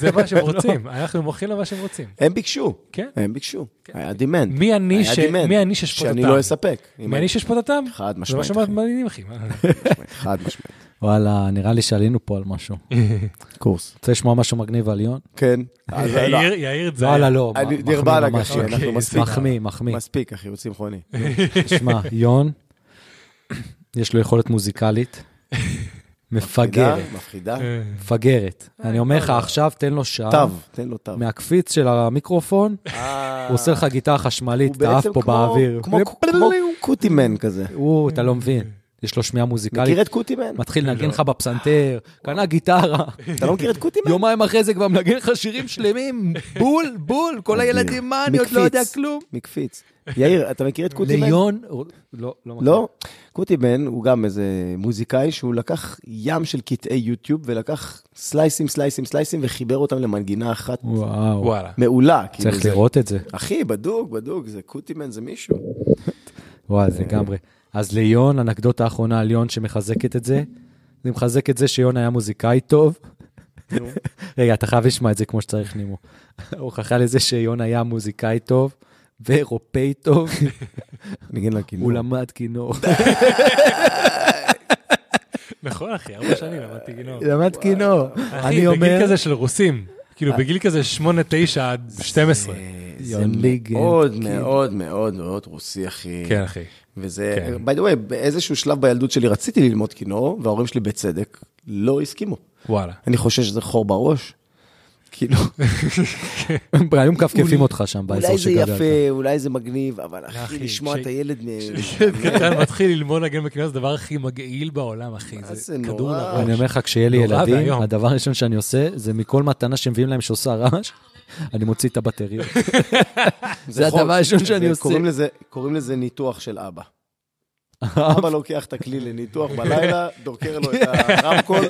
זה מה שהם רוצים, אנחנו מוחאים לו מה שהם רוצים. הם ביקשו, כן. הם ביקשו, היה demand. מי אני היה ש- demand. מי אני שאשפוט שאני אותם? לא אספק. מי אני שאשפוט אותם? חד זה לא מה משמעית, אחי. שמעניינים, אחי. מה? חד משמעית. וואלה, נראה לי שעלינו פה על משהו. קורס. רוצה לשמוע משהו מגניב על יון? כן. אז לא, יאיר, יאיר את זה. וואלה, לא. אני- מחמיא דיר באלק, ממש, אחי, יון. אנחנו מספיק. מחמיא, מחמיא. מספיק, אחי, הוא צמחוני. תשמע, יון, יש לו יכולת מוזיקלית מפגרת. מפחידה, מפחידה. אה, מפגרת. אני אומר לך, עכשיו תן לו שעה. תו, תן לו תו. מהקפיץ של המיקרופון, הוא עושה לך גיטרה חשמלית, הוא אתה עף בעצם פה כמו- באוויר. כמו כמו קוטימן כזה. הוא, אתה לא מבין, יש לו שמיעה מוזיקלית, מכיר את קוטימן? מתחיל לנגן לך בפסנתר, קנה גיטרה, לא. אתה לא מכיר את קוטימן? יומיים אחרי זה כבר מנגן לך שירים שלמים, בול, בול, כל הילדים, מה, אני עוד לא מקפיץ. יודע כלום. מקפיץ. יאיר, אתה מכיר את קוטימן? ליון, הוא- לא, לא מכיר. לא? קוטיבן הוא גם איזה מוזיקאי שהוא לקח ים של קטעי יוטיוב ולקח סלייסים, סלייסים, סלייסים וחיבר אותם למנגינה אחת וואו, וואלה. מעולה. כאילו, צריך זה- לראות את זה. אחי, בדוק, בדוק, זה קוטימן, זה מישהו. וואי, אה. זה לגמרי. אז ליון, אנקדוטה האחרונה על יון שמחזקת את זה, זה מחזק את זה שיון היה מוזיקאי טוב. רגע, אתה חייב לשמוע את זה כמו שצריך, נימו. הוכחה לזה שיון היה מוזיקאי טוב ואירופאי טוב, ניגן לכינור. הוא למד כינור. נכון, אחי, ארבע שנים למדתי גינור. למד כינור. אני אחי, בגיל אומר, כזה של רוסים. כאילו, אה. בגיל כזה 8-9 עד 12. יון ליגן. מאוד מאוד מאוד מאוד רוסי, כן. אחי. כן, אחי. וזה, כן. by the way, באיזשהו שלב בילדות שלי רציתי ללמוד כינור, וההורים שלי בצדק לא הסכימו. וואלה. אני חושב שזה חור בראש. כאילו, הם היום מכפכפים אותך שם באזור אולי זה שגדלת. יפה, אולי זה מגניב, אבל אחי, כן, אחי, לשמוע ש- את הילד מ... קטן כן, מתחיל ללמוד לנגן בכינור, זה הדבר הכי מגעיל בעולם, אחי. מה זה זה כדור נורא. לראש. אני אומר לך, כשיהיה לי נורא ילדים, ואיום. הדבר הראשון שאני עושה, זה מכל מתנה שמביאים להם שעושה רעש, אני מוציא את הבטריות. זה חור. הדבר הראשון שאני זה- עושה. קוראים לזה- קוראים לזה ניתוח של אבא. אבא לוקח את הכלי לניתוח בלילה, דוקר לו את הרמקול,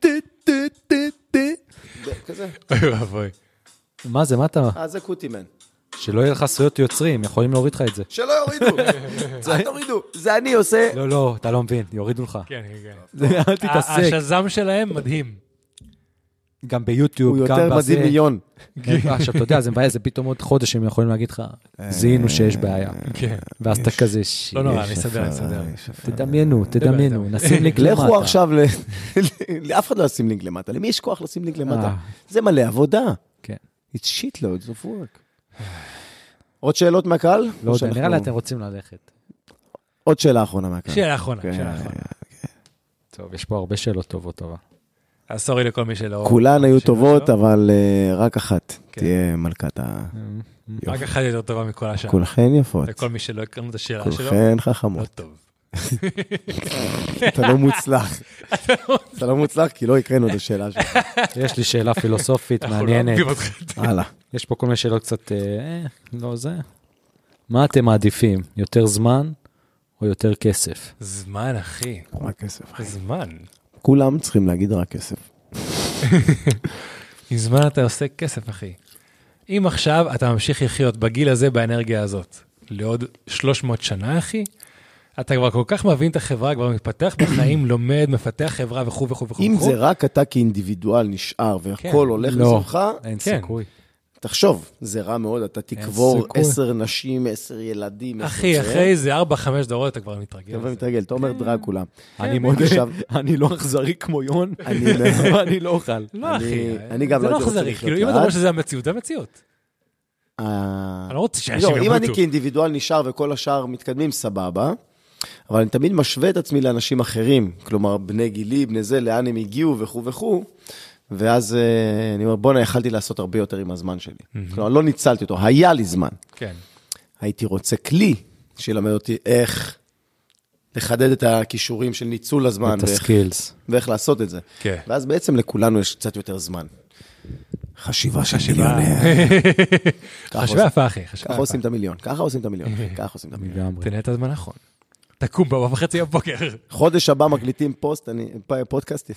טה, טה, טה, טה. כזה. אוי ואבוי. מה זה, מה אתה? אה, זה קוטימן. שלא יהיה לך זכויות יוצרים, יכולים להוריד לך את זה. שלא יורידו, אל תורידו, זה אני עושה. לא, לא, אתה לא מבין, יורידו לך. כן, כן, כן. אל תתעסק. השזם שלהם מדהים. גם ביוטיוב, הוא גם בזה. יותר מדהים מיון. אה, עכשיו, אתה יודע, זה מבאס, זה פתאום עוד חודש הם יכולים להגיד לך, זיהינו שיש בעיה. כן. ואז אתה כזה, "שיש, לא אה, נורא, אני אסדר, אני אסדר. תדמיינו, תדמיינו, נשים לינק למטה. לכו עכשיו, ל- לאף אחד לא ישים לינק למטה, למי יש כוח לשים לינק למטה? אה. זה מלא עבודה. כן. It's shit loads of work. עוד שאלות מהקהל? לא או יודע, נראה לי שאנחנו- אתם רוצים ללכת. עוד שאלה אחרונה מהקהל. שאלה אחרונה, כן. שאלה אחרונה. טוב, יש פה הרבה שאלות טובות, טובה. אז אה, סורי לכל מי שלא... כולן היו שאלה טובות, לא? אבל אה, רק אחת כן. תהיה מלכת ה... אה, רק אחת יותר טובה מכל השאר. כולכן יפות, לכל מי שלא הקראנו את השאלה שלו, כולכן לא חכמות. טוב. אתה לא מוצלח. אתה לא מוצלח כי לא הקראנו את השאלה שלך. יש לי שאלה פילוסופית אנחנו לא מעניינת. אוהבים אותך. הלאה. יש פה כל מיני שאלות קצת, אה, אה, לא זה. מה אתם מעדיפים, יותר זמן או יותר כסף? זמן, אחי. רק כסף. זמן. כולם צריכים להגיד רק כסף. עם זמן אתה עושה כסף, אחי. אם עכשיו אתה ממשיך לחיות בגיל הזה, באנרגיה הזאת, לעוד 300 שנה, אחי, אתה כבר כל כך מבין את החברה, כבר מתפתח בחיים, לומד, מפתח חברה וכו' וכו' וכו'. אם וכו'. זה רק אתה כאינדיבידואל נשאר והכל הולך לא. לסביבך, אין כן. סיכוי. תחשוב, זה רע מאוד, אתה תקבור סיכוי. עשר נשים, עשר ילדים. עשר אחי, כן. זה. אחרי זה 4-5 דורות אתה כבר אתה מתרגל. כבר לזה. מתרגל, אתה אומר דרקולה. אני מודה, עכשיו- אני לא אכזרי כמו יון, אני- ואני לא אוכל. לא, אחי. אני- אני גם לא זה הייתי רוצה אכזרי. לחיות כאילו, אם אתה לבד. אומר שזה המציאות, זה המציאות. אה, אני לא רוצה שאנשים לא, אם אני ימותו. כאינדיבידואל נשאר וכל השאר מתקדמים, סבבה. אבל אני תמיד משווה את עצמי לאנשים אחרים, כלומר, בני גילי, בני זה, לאן הם הגיעו וכו' וכו'. ואז אה, אני אומר, בואנה, יכלתי לעשות הרבה יותר עם הזמן שלי. כלומר, לא ניצלתי אותו, היה לי זמן. כן. הייתי רוצה כלי שילמד אותי איך לחדד את הכישורים של ניצול הזמן את ואיך, הסקילס. ואיך לעשות את זה. כן. ואז בעצם לכולנו יש קצת יותר זמן. חשיבה של מיליונר. ככה עושים- חשבי יפה, אחי. חשבי ככה יפה. עושים את המיליון, ככה עושים את המיליון, אחי, ככה עושים את המיליון. לגמרי. תנהל את הזמן נכון. תקום בבא וחצי בבוקר. חודש הבא מקליטים פוסט, אני, פ- פודקאסט,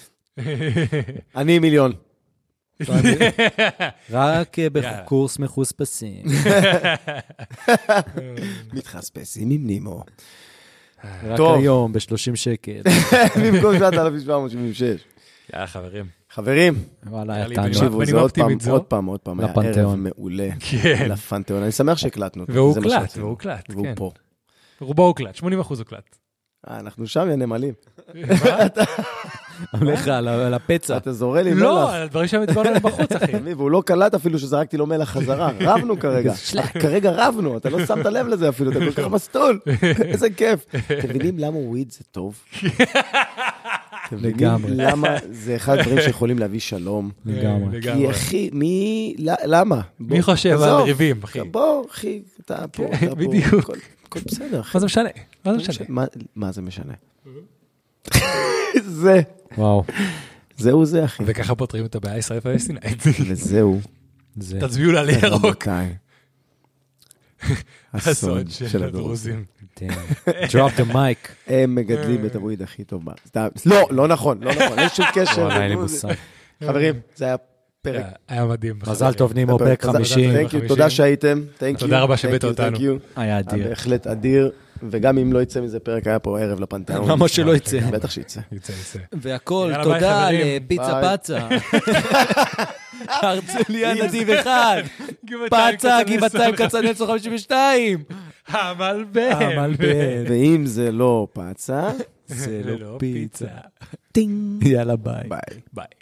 אני מיליון. רק אה, בקורס מחוספסים. מתחספסים עם נימו. רק טוב. היום, ב-30 שקל. במקום 7,776. יאללה, חברים. חברים, וואלה, לא היה לי אתה בנימה- אנשים. תקשיבו, זה בנימה עוד פעם, אופטימית זו. עוד פעם, עוד פעם, היה ערב לפנתיאון. מעולה. כן. לפנתיאון, אני שמח שהקלטנו. אותו, והוא לא, זה מה הוקלט, שרצינו. והוא הוקלט, והוא כן. פה. רובו הוקלט, 80 אחוז הוקלט. אה, אנחנו שם, יא נמלים. הולך אה? על ה- על הפצע. אתה זורה לי לא, מלח. על הדברים שהם הצבענו עליהם בחוץ, אחי. אתה מבין? והוא לא קלט אפילו שזרקתי לו מלח חזרה. רבנו כרגע. כרגע רבנו, אתה לא שמת לב לזה אפילו, אתה כל כך מסטול. איזה כיף. אתם מבינים למה וויד זה טוב? אתם מבינים לגמרי. למה זה אחד הדברים שיכולים להביא שלום? כן, אה, לגמרי. כי אחי, מי... ל- למה? מי בוא, חושב על עזוב. ריבים, אחי? בוא, אחי, אתה פה, אתה כן, פה. בדיוק. הכל- הכל בסדר, אחי. מה זה משנה? מה זה משנה? מה- מה זה משנה? זה, וואו, זהו זה, אחי. וככה פותרים את הבעיה כן. הישראלית פלסטינאית. וזהו. זה תצביעו לה לירוק. רבותיי. הסוד של הדרוזים. Drop the mic. הם מגדלים את הוויד הכי טוב בארץ. סתם, לא, לא נכון, לא נכון, אין שום קשר. וואלה, אין לי לדרוזים. מושג. חברים, זה היה פרק. היה- היה מדהים. מזל טוב, נימו הפרק. בק תודה, 50. thank you, תודה שהייתם. thank you, תודה רבה שהבאת thank you, אותנו. thank you. היה היה אדיר. בהחלט אדיר, וגם אם לא יצא מזה פרק, היה פה ערב לפנתיאון. למה שלא יצא? בטח שיצא. יצא, יצא. והכל, יאללה, ביי, תודה חברים. לפיצה ביי. פצה. הרצליה נתיב אחד. פצה, גבעתיים כצנלסון 52. המלבן. המלבן, ואם זה לא פצה, זה ולא לא פיצה. פיצה. טינג, יאללה, ביי. ביי. ביי.